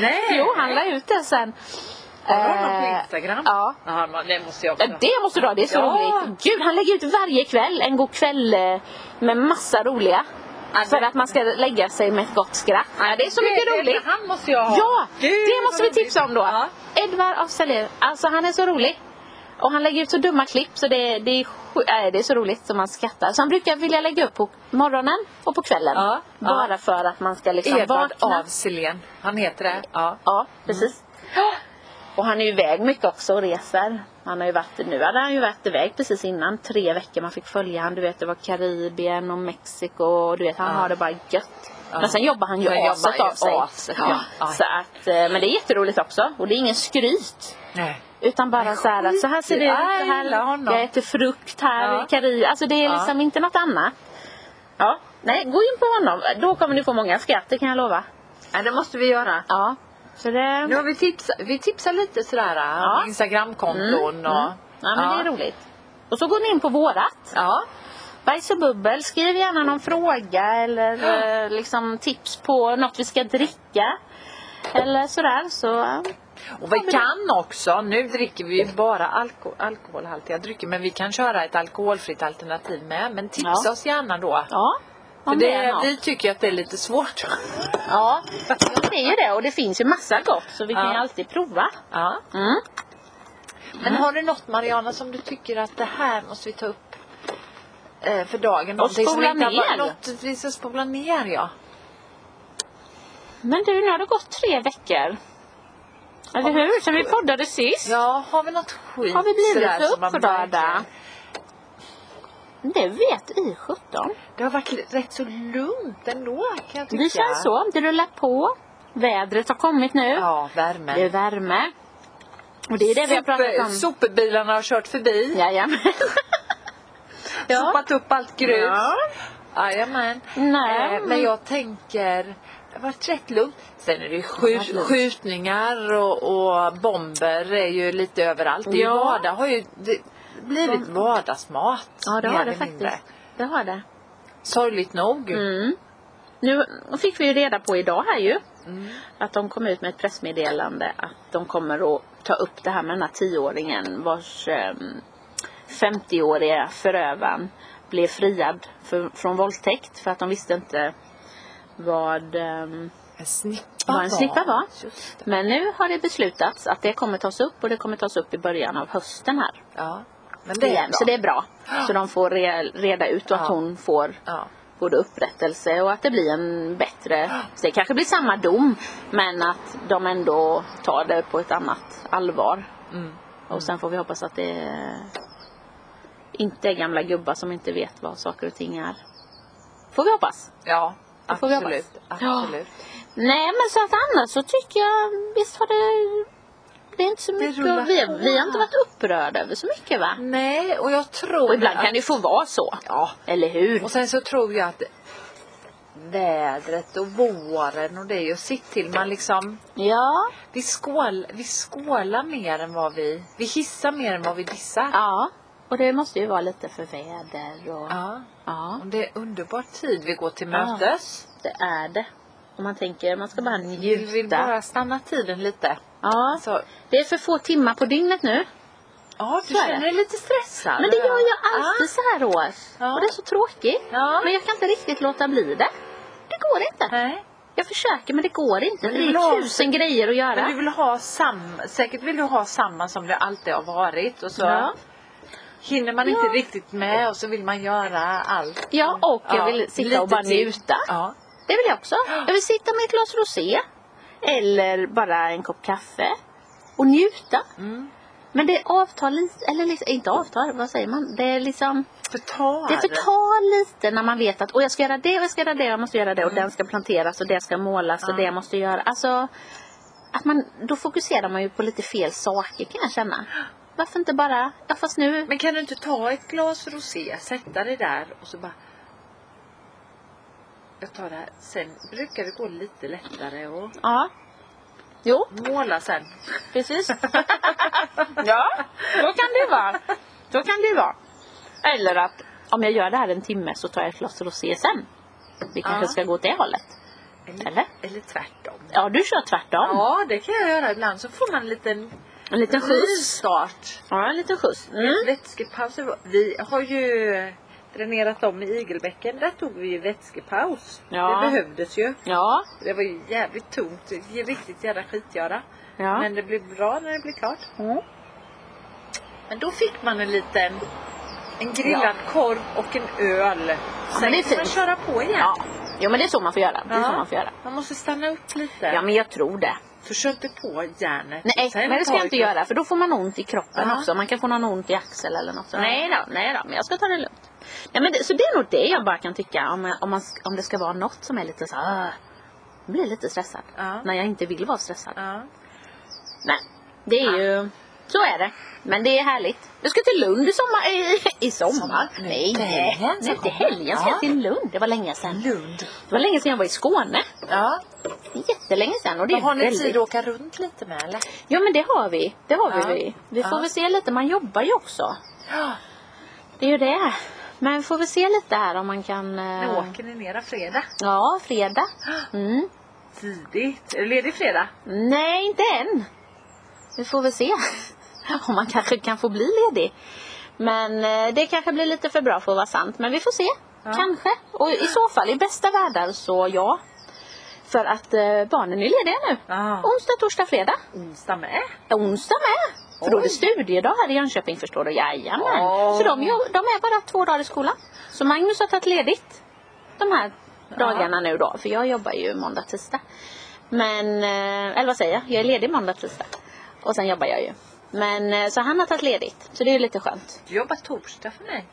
Speaker 2: Nej!
Speaker 1: Jo, han la ut det sen.
Speaker 2: Har du honom
Speaker 1: Eh,
Speaker 2: på Instagram?
Speaker 1: Ja.
Speaker 2: Jaha, men Eh, det måste jag också.
Speaker 1: Ja, det måste du ha, det är så
Speaker 2: Ja.
Speaker 1: roligt. Gud, han lägger ut varje kväll en god kväll eh, med massa roliga.
Speaker 2: Ja,
Speaker 1: För
Speaker 2: det-
Speaker 1: att man ska lägga sig med ett gott skratt. Ja, det är så mycket
Speaker 2: det-
Speaker 1: roligt.
Speaker 2: Han måste jag ha.
Speaker 1: Ja,
Speaker 2: Gud,
Speaker 1: det måste vi
Speaker 2: vad roligt.
Speaker 1: tipsa om då.
Speaker 2: Ja.
Speaker 1: Edvard af Sallén, alltså han är så rolig. Och han lägger ut så dumma klipp så det, det, är, sju- nej, det är så roligt som man skrattar. Så han brukar vilja lägga upp på morgonen och på kvällen.
Speaker 2: Ja, ja.
Speaker 1: Bara för att man ska liksom
Speaker 2: Edvard
Speaker 1: vakna.
Speaker 2: av Silén. Han heter det. Ja.
Speaker 1: Ja, precis.
Speaker 2: Mm.
Speaker 1: Och han är ju iväg mycket också och reser. Han har ju varit, nu hade han ju varit iväg precis innan. Tre veckor man fick följa han. Du vet det var Karibien och Mexiko och du vet han
Speaker 2: Ja.
Speaker 1: har det bara gött.
Speaker 2: Ja.
Speaker 1: Men sen jobbar han ju
Speaker 2: Sen jobbar
Speaker 1: aset
Speaker 2: ju
Speaker 1: av sig.
Speaker 2: aset, ja. Ja.
Speaker 1: Så att, eh, men det är jätteroligt också. Och det är ingen skryt.
Speaker 2: Nej.
Speaker 1: Utan bara så här, att så här ser det ut.
Speaker 2: Jag
Speaker 1: Så här,
Speaker 2: gillar honom.
Speaker 1: jag äter frukt här
Speaker 2: Ja.
Speaker 1: i Karibien. Alltså det är
Speaker 2: Ja.
Speaker 1: liksom inte något annat. Ja, nej gå in på honom. Då kommer ni få många skratt, det kan jag lova.
Speaker 2: Nej, det måste vi göra.
Speaker 1: Ja. Så det...
Speaker 2: Nu har vi tipsat vi tipsar lite sådär eh,
Speaker 1: Ja.
Speaker 2: om Instagramkonton och...
Speaker 1: Mm. Ja, men det är roligt. Och så går ni in på vårat.
Speaker 2: Ja.
Speaker 1: Bajs och bubbel. Skriv gärna någon fråga eller eh, liksom tips på något vi ska dricka. Eller sådär. Så, eh,
Speaker 2: Och vi kan också, nu dricker vi ju bara alko alkoholhaltiga drycker men vi kan köra ett alkoholfritt alternativ med. Men tipsa
Speaker 1: Ja.
Speaker 2: oss gärna då
Speaker 1: ja.
Speaker 3: För
Speaker 1: Om det är
Speaker 3: det,
Speaker 1: något.
Speaker 3: vi tycker ju att det är lite svårt.
Speaker 1: Ja, jag ser ju det och det finns ju massa gott så vi kan
Speaker 3: Ja.
Speaker 1: ju alltid prova.
Speaker 3: Ja.
Speaker 1: Mm.
Speaker 2: Men har du något Mariana som du tycker att det här måste vi ta upp eh, för dagen? Någonting som
Speaker 1: spola
Speaker 2: inte har varit-
Speaker 1: ner.
Speaker 2: Något vi ska spola ner ja.
Speaker 1: Men du, nu har det gått tre veckor. Eller hur? Sen vi poddade sist.
Speaker 2: Ja, har vi något skit
Speaker 1: Har vi
Speaker 2: sådär
Speaker 1: blivit så
Speaker 2: som man
Speaker 1: upprörda?
Speaker 2: verkligen-
Speaker 1: Det vet i 17.
Speaker 2: Det har varit li- rätt så lugnt ändå kan jag tycka.
Speaker 1: Det känns så. Det rullar på. Vädret har kommit nu.
Speaker 2: Ja,
Speaker 1: Det är
Speaker 2: värmen.
Speaker 1: värme. Och det är det vi har pratat om.
Speaker 2: Sopbilarna har kört förbi.
Speaker 1: Jajamän. ja.
Speaker 2: Sopat upp allt grus.
Speaker 1: Ja.
Speaker 2: Jajamän.
Speaker 1: Nej.
Speaker 2: Eh, men jag tänker, det har varit rätt lugnt. Sen är det ju skjut,
Speaker 1: varit lugnt.
Speaker 2: skjutningar och, och bomber är ju lite överallt. Det är ju
Speaker 1: Ja.
Speaker 2: vardag, har ju det, blivit vardagsmat.
Speaker 1: ja, det
Speaker 2: mer
Speaker 1: har det
Speaker 2: eller mindre.
Speaker 1: faktiskt. Det har det.
Speaker 2: Sorgligt nog.
Speaker 1: Mm. Nu fick vi ju reda på idag här ju
Speaker 2: Mm.
Speaker 1: att de kom ut med ett pressmeddelande att de kommer att ta upp det här med den här tioåringen vars ehm, 50-åriga förövaren blev friad för, från våldtäkt för att de visste inte vad ehm,
Speaker 2: En snippa
Speaker 1: Vad en snippa var.
Speaker 2: Just det.
Speaker 1: men nu har det beslutats att det kommer tas upp och det kommer tas upp i början av hösten här.
Speaker 2: Ja. Men det är
Speaker 1: igen.
Speaker 2: bra.
Speaker 1: Så det är bra. Så de får re- reda ut och att
Speaker 2: Ja.
Speaker 1: hon får
Speaker 2: ja.
Speaker 1: både upprättelse och att det blir en bättre, så det kanske blir samma dom men att de ändå tar det på ett annat allvar.
Speaker 2: Mm.
Speaker 1: Och sen får vi hoppas att det inte är gamla gubbar som inte vet vad saker och ting är. Får vi hoppas.
Speaker 2: ja.
Speaker 1: Det får vi
Speaker 2: Absolut.
Speaker 1: hoppas. Ja.
Speaker 2: Absolut.
Speaker 1: Nej men så att annars så tycker jag visst har det det är inte så mycket,
Speaker 2: rullar
Speaker 1: vi,
Speaker 2: på.
Speaker 1: vi har inte varit upprörda över så mycket va?
Speaker 2: Nej, och jag tror
Speaker 1: Och ibland
Speaker 2: att-
Speaker 1: kan det ju få vara så.
Speaker 2: Ja,
Speaker 1: Eller hur?
Speaker 2: Och sen så tror jag att vädret och våren och det är ju sitt till man liksom
Speaker 1: Ja.
Speaker 2: vi, skål, vi skålar mer än vad vi vi hissar mer än vad vi dissar.
Speaker 1: Ja. Och det måste ju vara lite för väder och
Speaker 2: Ja.
Speaker 1: ja.
Speaker 2: Och det är underbar tid vi går till
Speaker 1: Ja.
Speaker 2: mötes.
Speaker 1: Det är det. Om man tänker, man ska bara
Speaker 2: Vi vill
Speaker 1: njuta.
Speaker 2: bara stanna tiden lite.
Speaker 1: Ja,
Speaker 2: Så,
Speaker 1: det är för få timmar på dygnet nu.
Speaker 2: ja, du
Speaker 1: Så är
Speaker 2: känner
Speaker 1: det.
Speaker 2: dig lite stressad.
Speaker 1: Men det gör jag
Speaker 2: Ja.
Speaker 1: alltid så här års.
Speaker 2: Ja.
Speaker 1: Och det är så tråkigt.
Speaker 2: Ja.
Speaker 1: Men jag kan inte riktigt låta bli det. Det går inte.
Speaker 2: Nej.
Speaker 1: Jag försöker men det går inte.
Speaker 2: du
Speaker 1: Det
Speaker 2: vill ha-
Speaker 1: är tusen grejer att
Speaker 2: Men du
Speaker 1: göra.
Speaker 2: vill ha samma, säkert vill du ha samma som det alltid har varit och så
Speaker 1: Ja.
Speaker 2: hinner man
Speaker 1: Ja.
Speaker 2: inte riktigt med och så vill man göra allt.
Speaker 1: Ja, och jag vill
Speaker 2: lite
Speaker 1: sitta och bara
Speaker 2: till.
Speaker 1: njuta.
Speaker 2: Ja.
Speaker 1: Det vill jag också. Jag vill sitta med ett glas rosé. Eller bara en kopp kaffe. Och njuta.
Speaker 2: Mm.
Speaker 1: Men det avtar lite, eller liksom, inte avtar, vad säger man? Det är liksom
Speaker 2: Förtal.
Speaker 1: Det förtar lite när man vet att och jag ska göra det och jag ska göra det och jag måste göra det och den ska planteras och det ska målas och
Speaker 2: Ja.
Speaker 1: det måste göra. Alltså, att man, då fokuserar man ju på lite fel saker kan jag känna. Varför inte bara, ja fast nu,
Speaker 2: Men kan du inte ta ett glas rosé, sätta det där och så bara jag tar det här. Sen brukar det gå lite lättare och
Speaker 1: ja. Jo,
Speaker 2: måla sen.
Speaker 1: precis. ja, då kan det vara. Då kan det vara. Eller att om jag gör det här en timme så tar jag ett glas rosé sen. Vi kanske
Speaker 2: Ja.
Speaker 1: ska gå åt det hållet. Eller?
Speaker 2: Eller tvärtom.
Speaker 1: Ja, du kör tvärtom.
Speaker 2: Ja, det kan jag göra ibland. Så får man en liten
Speaker 1: En liten skjuts.
Speaker 2: start.
Speaker 1: Ja, en liten skjuts. Mm.
Speaker 2: Vätskepauser. Vi har ju dränerat om i igelbäcken. Där tog vi ju vätskepaus.
Speaker 1: Ja.
Speaker 2: Det behövdes ju.
Speaker 1: Ja,
Speaker 2: Det var ju jävligt tomt. Det är Riktigt jävla skitgöra.
Speaker 1: ja.
Speaker 2: Men det blev bra när det blev klart.
Speaker 1: Mm.
Speaker 2: Men då fick man en liten en grillad korv och en öl. Sen
Speaker 1: men det är
Speaker 2: kan man
Speaker 1: fint.
Speaker 2: köra på igen.
Speaker 1: Ja. Jo men det är så man får göra. Det är
Speaker 2: Ja.
Speaker 1: så man får göra.
Speaker 2: Man måste stanna upp lite.
Speaker 1: Ja men jag tror det.
Speaker 2: Försök inte på järnet.
Speaker 1: Nej
Speaker 2: Sen
Speaker 1: men det ska
Speaker 2: tar
Speaker 1: jag inte
Speaker 2: det-
Speaker 1: göra för då får man ont i kroppen
Speaker 2: Ja.
Speaker 1: också. Man kan få någon ont i axel eller något. Så, nej då, nej då, men jag ska ta det lugnt. Nej, men det, så det är nog det jag bara kan tycka om, om, man, om det ska vara något som är lite så här. "Åh", Jag blir lite stressad.
Speaker 2: Ja.
Speaker 1: När jag inte vill vara stressad.
Speaker 2: Ja.
Speaker 1: Nej. Det är ju, så är det. Men det är härligt. Jag ska till Lund i sommar. I, i sommar?
Speaker 2: Sommar. Nu
Speaker 1: Nej,
Speaker 2: till helgen så
Speaker 1: nu till helgen ska
Speaker 2: Ja.
Speaker 1: jag till Lund. Det var länge sedan.
Speaker 2: Lund.
Speaker 1: Det var länge sedan jag var i Skåne.
Speaker 2: Ja.
Speaker 1: Det är jättelänge sedan och det
Speaker 2: Men
Speaker 1: är
Speaker 2: har ni
Speaker 1: väldigt...
Speaker 2: tid att åka runt lite med eller?
Speaker 1: Ja men det har vi. Det har
Speaker 2: Ja.
Speaker 1: vi. Vi får
Speaker 2: Ja.
Speaker 1: väl se lite. Man jobbar ju också.
Speaker 2: Ja.
Speaker 1: Det är ju det. Men vi får väl se lite här om man kan... eh,
Speaker 2: Nu åker ni nera fredag.
Speaker 1: Ja, fredag. Mm.
Speaker 2: Tidigt. Är du ledig fredag?
Speaker 1: Nej, inte än. Vi får väl se. Om man kanske kan få bli ledig. Men eh, det kanske blir lite för bra för att vara sant. Men vi får se. Kanske. Och i så fall, i bästa världar så ja. För att eh, barnen är lediga nu.
Speaker 2: Ja.
Speaker 1: Onsdag, torsdag, fredag.
Speaker 2: Onsdag med.
Speaker 1: Onsdag med. För då är det
Speaker 2: Oj.
Speaker 1: studiedag här i Jönköping förstår du. Jajamän.
Speaker 2: Åh.
Speaker 1: Så de, är ju- de är bara två dagar i skolan. Så Magnus har tagit ledigt de här dagarna nu då. För jag jobbar ju måndag, tisdag. Men, eh, eller vad säger jag? Jag är ledig måndag, tisdag. Och sen jobbar jag ju. Men eh, så han har tagit ledigt. Så det är ju lite skönt.
Speaker 2: Du jobbar torsdag för mig.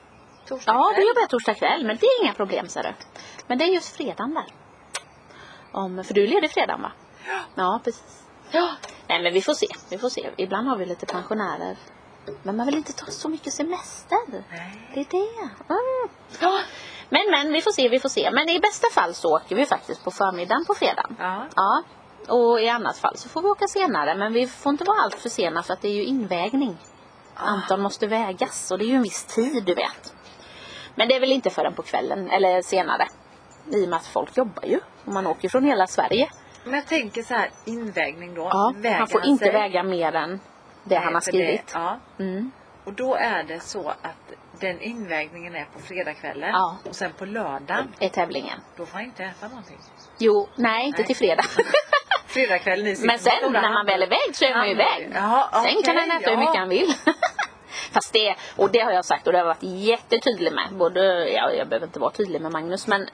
Speaker 2: Torsdag
Speaker 1: Ja, då
Speaker 2: kväll.
Speaker 1: jobbar jag torsdag kväll. Men det är inga problem ser du. Men det är just fredagen där. Om, för du är ledig fredagen va? Ja, precis.
Speaker 2: Ja.
Speaker 1: Nej men vi får se, vi får se. Ibland har vi lite pensionärer. Men man vill inte ta så mycket semester.
Speaker 2: Nej.
Speaker 1: Det är det. Mm. Ja. Men men, vi får se, vi får se. Men i bästa fall så åker vi faktiskt på förmiddagen på fredagen.
Speaker 2: Ja.
Speaker 1: Ja. Och i annat fall så får vi åka senare. Men vi får inte vara allt för sena för att det är ju invägning. Anton måste vägas och det är ju en viss tid du vet. Men det är väl inte förrän på kvällen eller senare. I och med att folk jobbar ju. Och man åker från hela Sverige.
Speaker 2: Men jag tänker så här, invägning då.
Speaker 1: Ja,
Speaker 2: Väger
Speaker 1: han får inte
Speaker 2: sig?
Speaker 1: väga mer än det han har
Speaker 2: Nej, för
Speaker 1: skrivit.
Speaker 2: Det, ja.
Speaker 1: Mm.
Speaker 2: Och då är det så att den invägningen är på fredagskvällen.
Speaker 1: Ja. Mm.
Speaker 2: Och sen på lördagen,
Speaker 1: Är tävlingen.
Speaker 2: då får han inte äta någonting.
Speaker 1: Jo, nej, inte
Speaker 2: Nej.
Speaker 1: till fredag.
Speaker 2: Fredagskvällen i
Speaker 1: Men sen när han väl är iväg så är han ju iväg.
Speaker 2: Ja,
Speaker 1: Sen kan han äta hur mycket han vill. Fast det, och det har jag sagt och det har jag varit jättetydlig med. Både, ja, jag behöver inte vara tydlig med Magnus men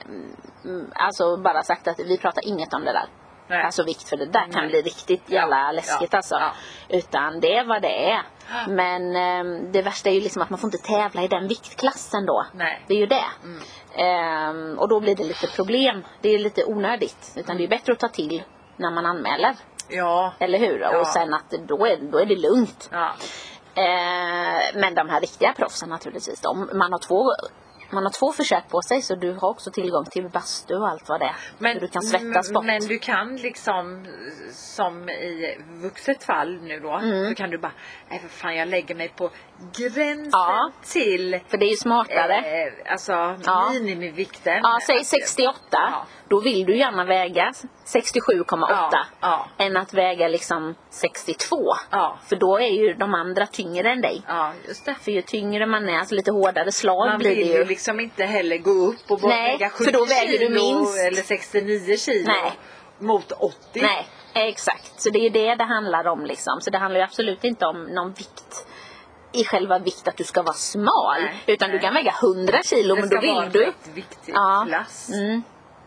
Speaker 1: mm, alltså bara sagt att vi pratar inget om det där.
Speaker 2: Nej.
Speaker 1: Alltså vikt för det där kan
Speaker 2: Nej.
Speaker 1: bli riktigt jävla
Speaker 2: Ja,
Speaker 1: läskigt
Speaker 2: ja,
Speaker 1: alltså.
Speaker 2: ja.
Speaker 1: Utan det är vad det är.
Speaker 2: Ja.
Speaker 1: Men ehm, det värsta är ju liksom att man får inte tävla i den viktklassen då.
Speaker 2: Nej.
Speaker 1: Det är ju det.
Speaker 2: Mm.
Speaker 1: Ehm, och då blir det lite problem. Det är lite onödigt. Utan det är bättre att ta till när man anmäler.
Speaker 2: Ja.
Speaker 1: Eller hur?
Speaker 2: Ja.
Speaker 1: Och sen att då är, då är det lugnt.
Speaker 2: Ja.
Speaker 1: Eh, men de här riktiga proffsen naturligtvis, de, man, har två, man har två försök på sig så du har också tillgång till bastu och allt vad det är.
Speaker 2: Men,
Speaker 1: Så du kan svettas
Speaker 2: m-
Speaker 1: bort.
Speaker 2: men du kan liksom, som i vuxet fall nu då,
Speaker 1: Mm.
Speaker 2: så kan du bara, nej för fan jag lägger mig på gränsen
Speaker 1: Ja.
Speaker 2: till
Speaker 1: För det är ju smartare.
Speaker 2: eh, alltså
Speaker 1: Ja.
Speaker 2: minimivikten.
Speaker 1: ja, säg 68.
Speaker 2: Ja.
Speaker 1: Då vill du gärna väga 67,8.
Speaker 2: Ja, ja.
Speaker 1: Än att väga liksom 62.
Speaker 2: Ja.
Speaker 1: För då är ju de andra tyngre än dig.
Speaker 2: Ja, just det.
Speaker 1: För ju tyngre man är, alltså lite hårdare slag
Speaker 2: Man
Speaker 1: blir
Speaker 2: vill
Speaker 1: det
Speaker 2: ju liksom inte heller gå upp och bara
Speaker 1: Nej,
Speaker 2: väga
Speaker 1: för
Speaker 2: 70
Speaker 1: då väger du
Speaker 2: kilo
Speaker 1: minst.
Speaker 2: eller 69 kilo
Speaker 1: Nej.
Speaker 2: mot 80.
Speaker 1: Nej, exakt. Så det är ju det det handlar om liksom. Så det handlar ju absolut inte om någon vikt i själva vikt att du ska vara smal.
Speaker 2: Nej,
Speaker 1: utan
Speaker 2: nej.
Speaker 1: du kan väga 100 kilo
Speaker 2: det
Speaker 1: men
Speaker 2: ska
Speaker 1: då
Speaker 2: vara
Speaker 1: vill
Speaker 2: en
Speaker 1: du.
Speaker 2: rätt viktig
Speaker 1: Ja.
Speaker 2: klass.
Speaker 1: Mm.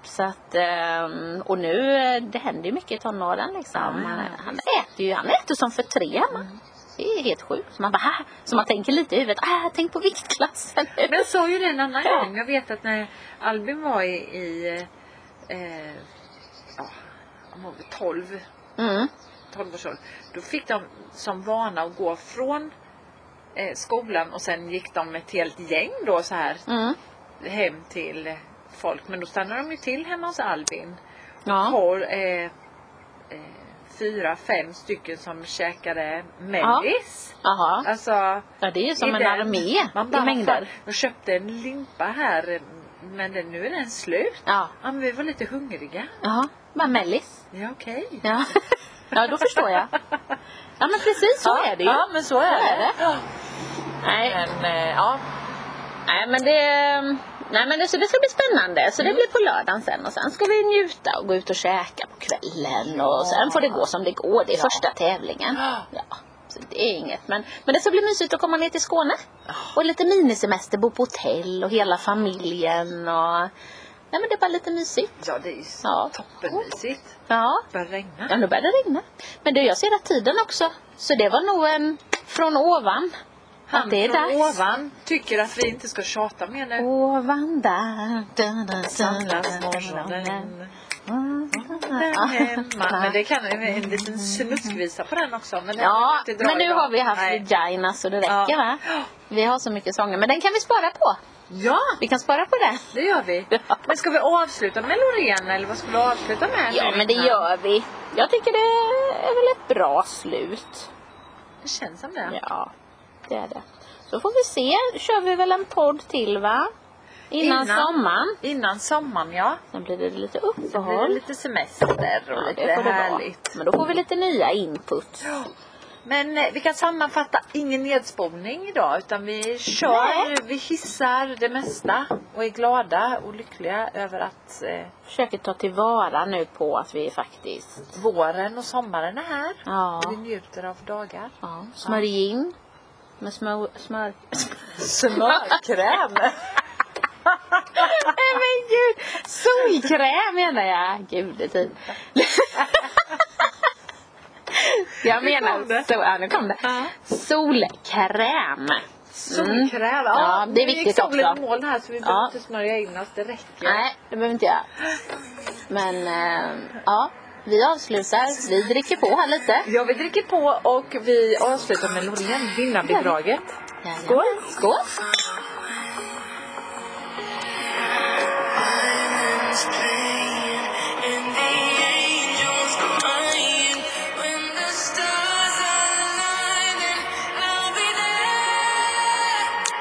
Speaker 1: Så att, ehm, och nu, eh, det händer ju mycket i tonåren liksom.
Speaker 2: Ja, Mm.
Speaker 1: Han, han äter ju, han äter som för tre. man. Det är helt sjukt. Så man bara, ah, så man tänker lite i huvudet, ah, tänk på viktklassen nu.
Speaker 2: Men jag sa ju det en annan
Speaker 1: Ja.
Speaker 2: gång. Jag vet att när Albin var i, i eh, ja, han var väl 12,
Speaker 1: Mm.
Speaker 2: 12 års ålder. Då fick de som vana att gå från eh, skolan och sen gick de ett helt gäng då så här
Speaker 1: Mm.
Speaker 2: hem till folk. Men då stannade de ju till hemma hos Albin.
Speaker 1: Ja.
Speaker 2: Har eh, eh, fyra, fem stycken som käkade
Speaker 1: Ja.
Speaker 2: mellis.
Speaker 1: Jaha.
Speaker 2: Alltså
Speaker 1: Ja, det är ju som
Speaker 2: i
Speaker 1: en
Speaker 2: den.
Speaker 1: armé
Speaker 2: Man
Speaker 1: i
Speaker 2: bara,
Speaker 1: mängder.
Speaker 2: "Fan, Jag köpte en limpa här eh, men den, nu är den slut.
Speaker 1: Ja.
Speaker 2: Ja, men vi var lite hungriga.
Speaker 1: Jaha. Bara mellis.
Speaker 2: Ja okej.
Speaker 1: Ja. ja, då förstår jag. Ja, men precis så är det ju.
Speaker 2: Ja men så är
Speaker 1: Så
Speaker 2: det.
Speaker 1: är det.
Speaker 2: Ja.
Speaker 1: Nej,
Speaker 2: Men eh, ja.
Speaker 1: nej, men det... Nej, men det, så det ska bli spännande. Så det blir på lördagen sen. Och sen ska vi njuta och gå ut och käka på kvällen. Och sen får det gå som det går. Det är första tävlingen. Ja. Så det är inget. Men, men det ska bli mysigt att komma ner till Skåne. Och lite minisemester, bo på hotell och hela familjen. Och... Nej, men det är bara lite mysigt.
Speaker 2: Ja det är ju
Speaker 1: Ja.
Speaker 2: toppenmysigt.
Speaker 1: Ja.
Speaker 2: Det börjar regna.
Speaker 1: Ja, nu börjar det regna. Men du, jag ser att tiden också. Så det var nog en från ovan.
Speaker 2: Han
Speaker 1: att det är
Speaker 2: från
Speaker 1: dags.
Speaker 2: ovan tycker att vi inte ska tjata mer nu.
Speaker 1: Ovan där. Dun, dun,
Speaker 2: Samlas
Speaker 1: dun, dun, dun.
Speaker 2: morgonen.
Speaker 1: Ja. Mm.
Speaker 2: Hemma. Men det kan en liten snuskvisa på den också. Men den kan vi
Speaker 1: Ja,
Speaker 2: inte dra
Speaker 1: men nu
Speaker 2: idag.
Speaker 1: har vi haft
Speaker 2: Nej.
Speaker 1: Regina så det
Speaker 2: Ja.
Speaker 1: räcker va? Vi har så mycket sånger, men den kan vi spara på.
Speaker 2: Ja,
Speaker 1: Vi kan spara på den.
Speaker 2: det gör vi.
Speaker 1: Ja.
Speaker 2: Men ska vi avsluta med Loreen eller vad ska vi avsluta med?
Speaker 1: Ja,
Speaker 2: nu?
Speaker 1: men det gör vi. Jag tycker det är väl ett bra slut.
Speaker 2: Det känns som det.
Speaker 1: Ja, det är det. Så får vi se. Kör vi väl en podd till va? Innan,
Speaker 2: Innan.
Speaker 1: sommaren.
Speaker 2: Innan sommaren ja.
Speaker 1: Sen blir det lite
Speaker 2: Då blir det
Speaker 1: uppehåll.
Speaker 2: lite semester och
Speaker 1: Ja,
Speaker 2: lite
Speaker 1: det får det vara.
Speaker 2: härligt.
Speaker 1: Men då får vi lite nya input.
Speaker 2: Men eh, vi kan sammanfatta, ingen nedspolning idag utan vi kör,
Speaker 1: Nej.
Speaker 2: vi hissar det mesta och är glada och lyckliga över att eh,
Speaker 1: Försöker ta tillvara nu på att vi faktiskt
Speaker 2: våren och sommaren är här.
Speaker 1: ja,
Speaker 2: Vi njuter av dagar.
Speaker 1: ja, smörjer in med smör... smör.
Speaker 2: Smörkräm!
Speaker 1: Nej men gud! Solkräm menar jag! Gud, det är typ- tid. jag
Speaker 2: kom det.
Speaker 1: menar... Så, ja, nu kom det.
Speaker 2: Ja.
Speaker 1: Solkräm.
Speaker 2: Solkräm!
Speaker 1: Mm. Ja, det är
Speaker 2: nu gick
Speaker 1: viktigt
Speaker 2: solen
Speaker 1: också.
Speaker 2: i moln här så vi
Speaker 1: Ja.
Speaker 2: behöver inte smörja in oss, det räcker.
Speaker 1: Nej, det behöver inte jag. Men eh, ja, vi avslutar. Vi dricker på här lite.
Speaker 2: Ja, vi dricker på och vi avslutar med Loreen, vinnarbidraget.
Speaker 1: Skål! Skål!
Speaker 6: Skål!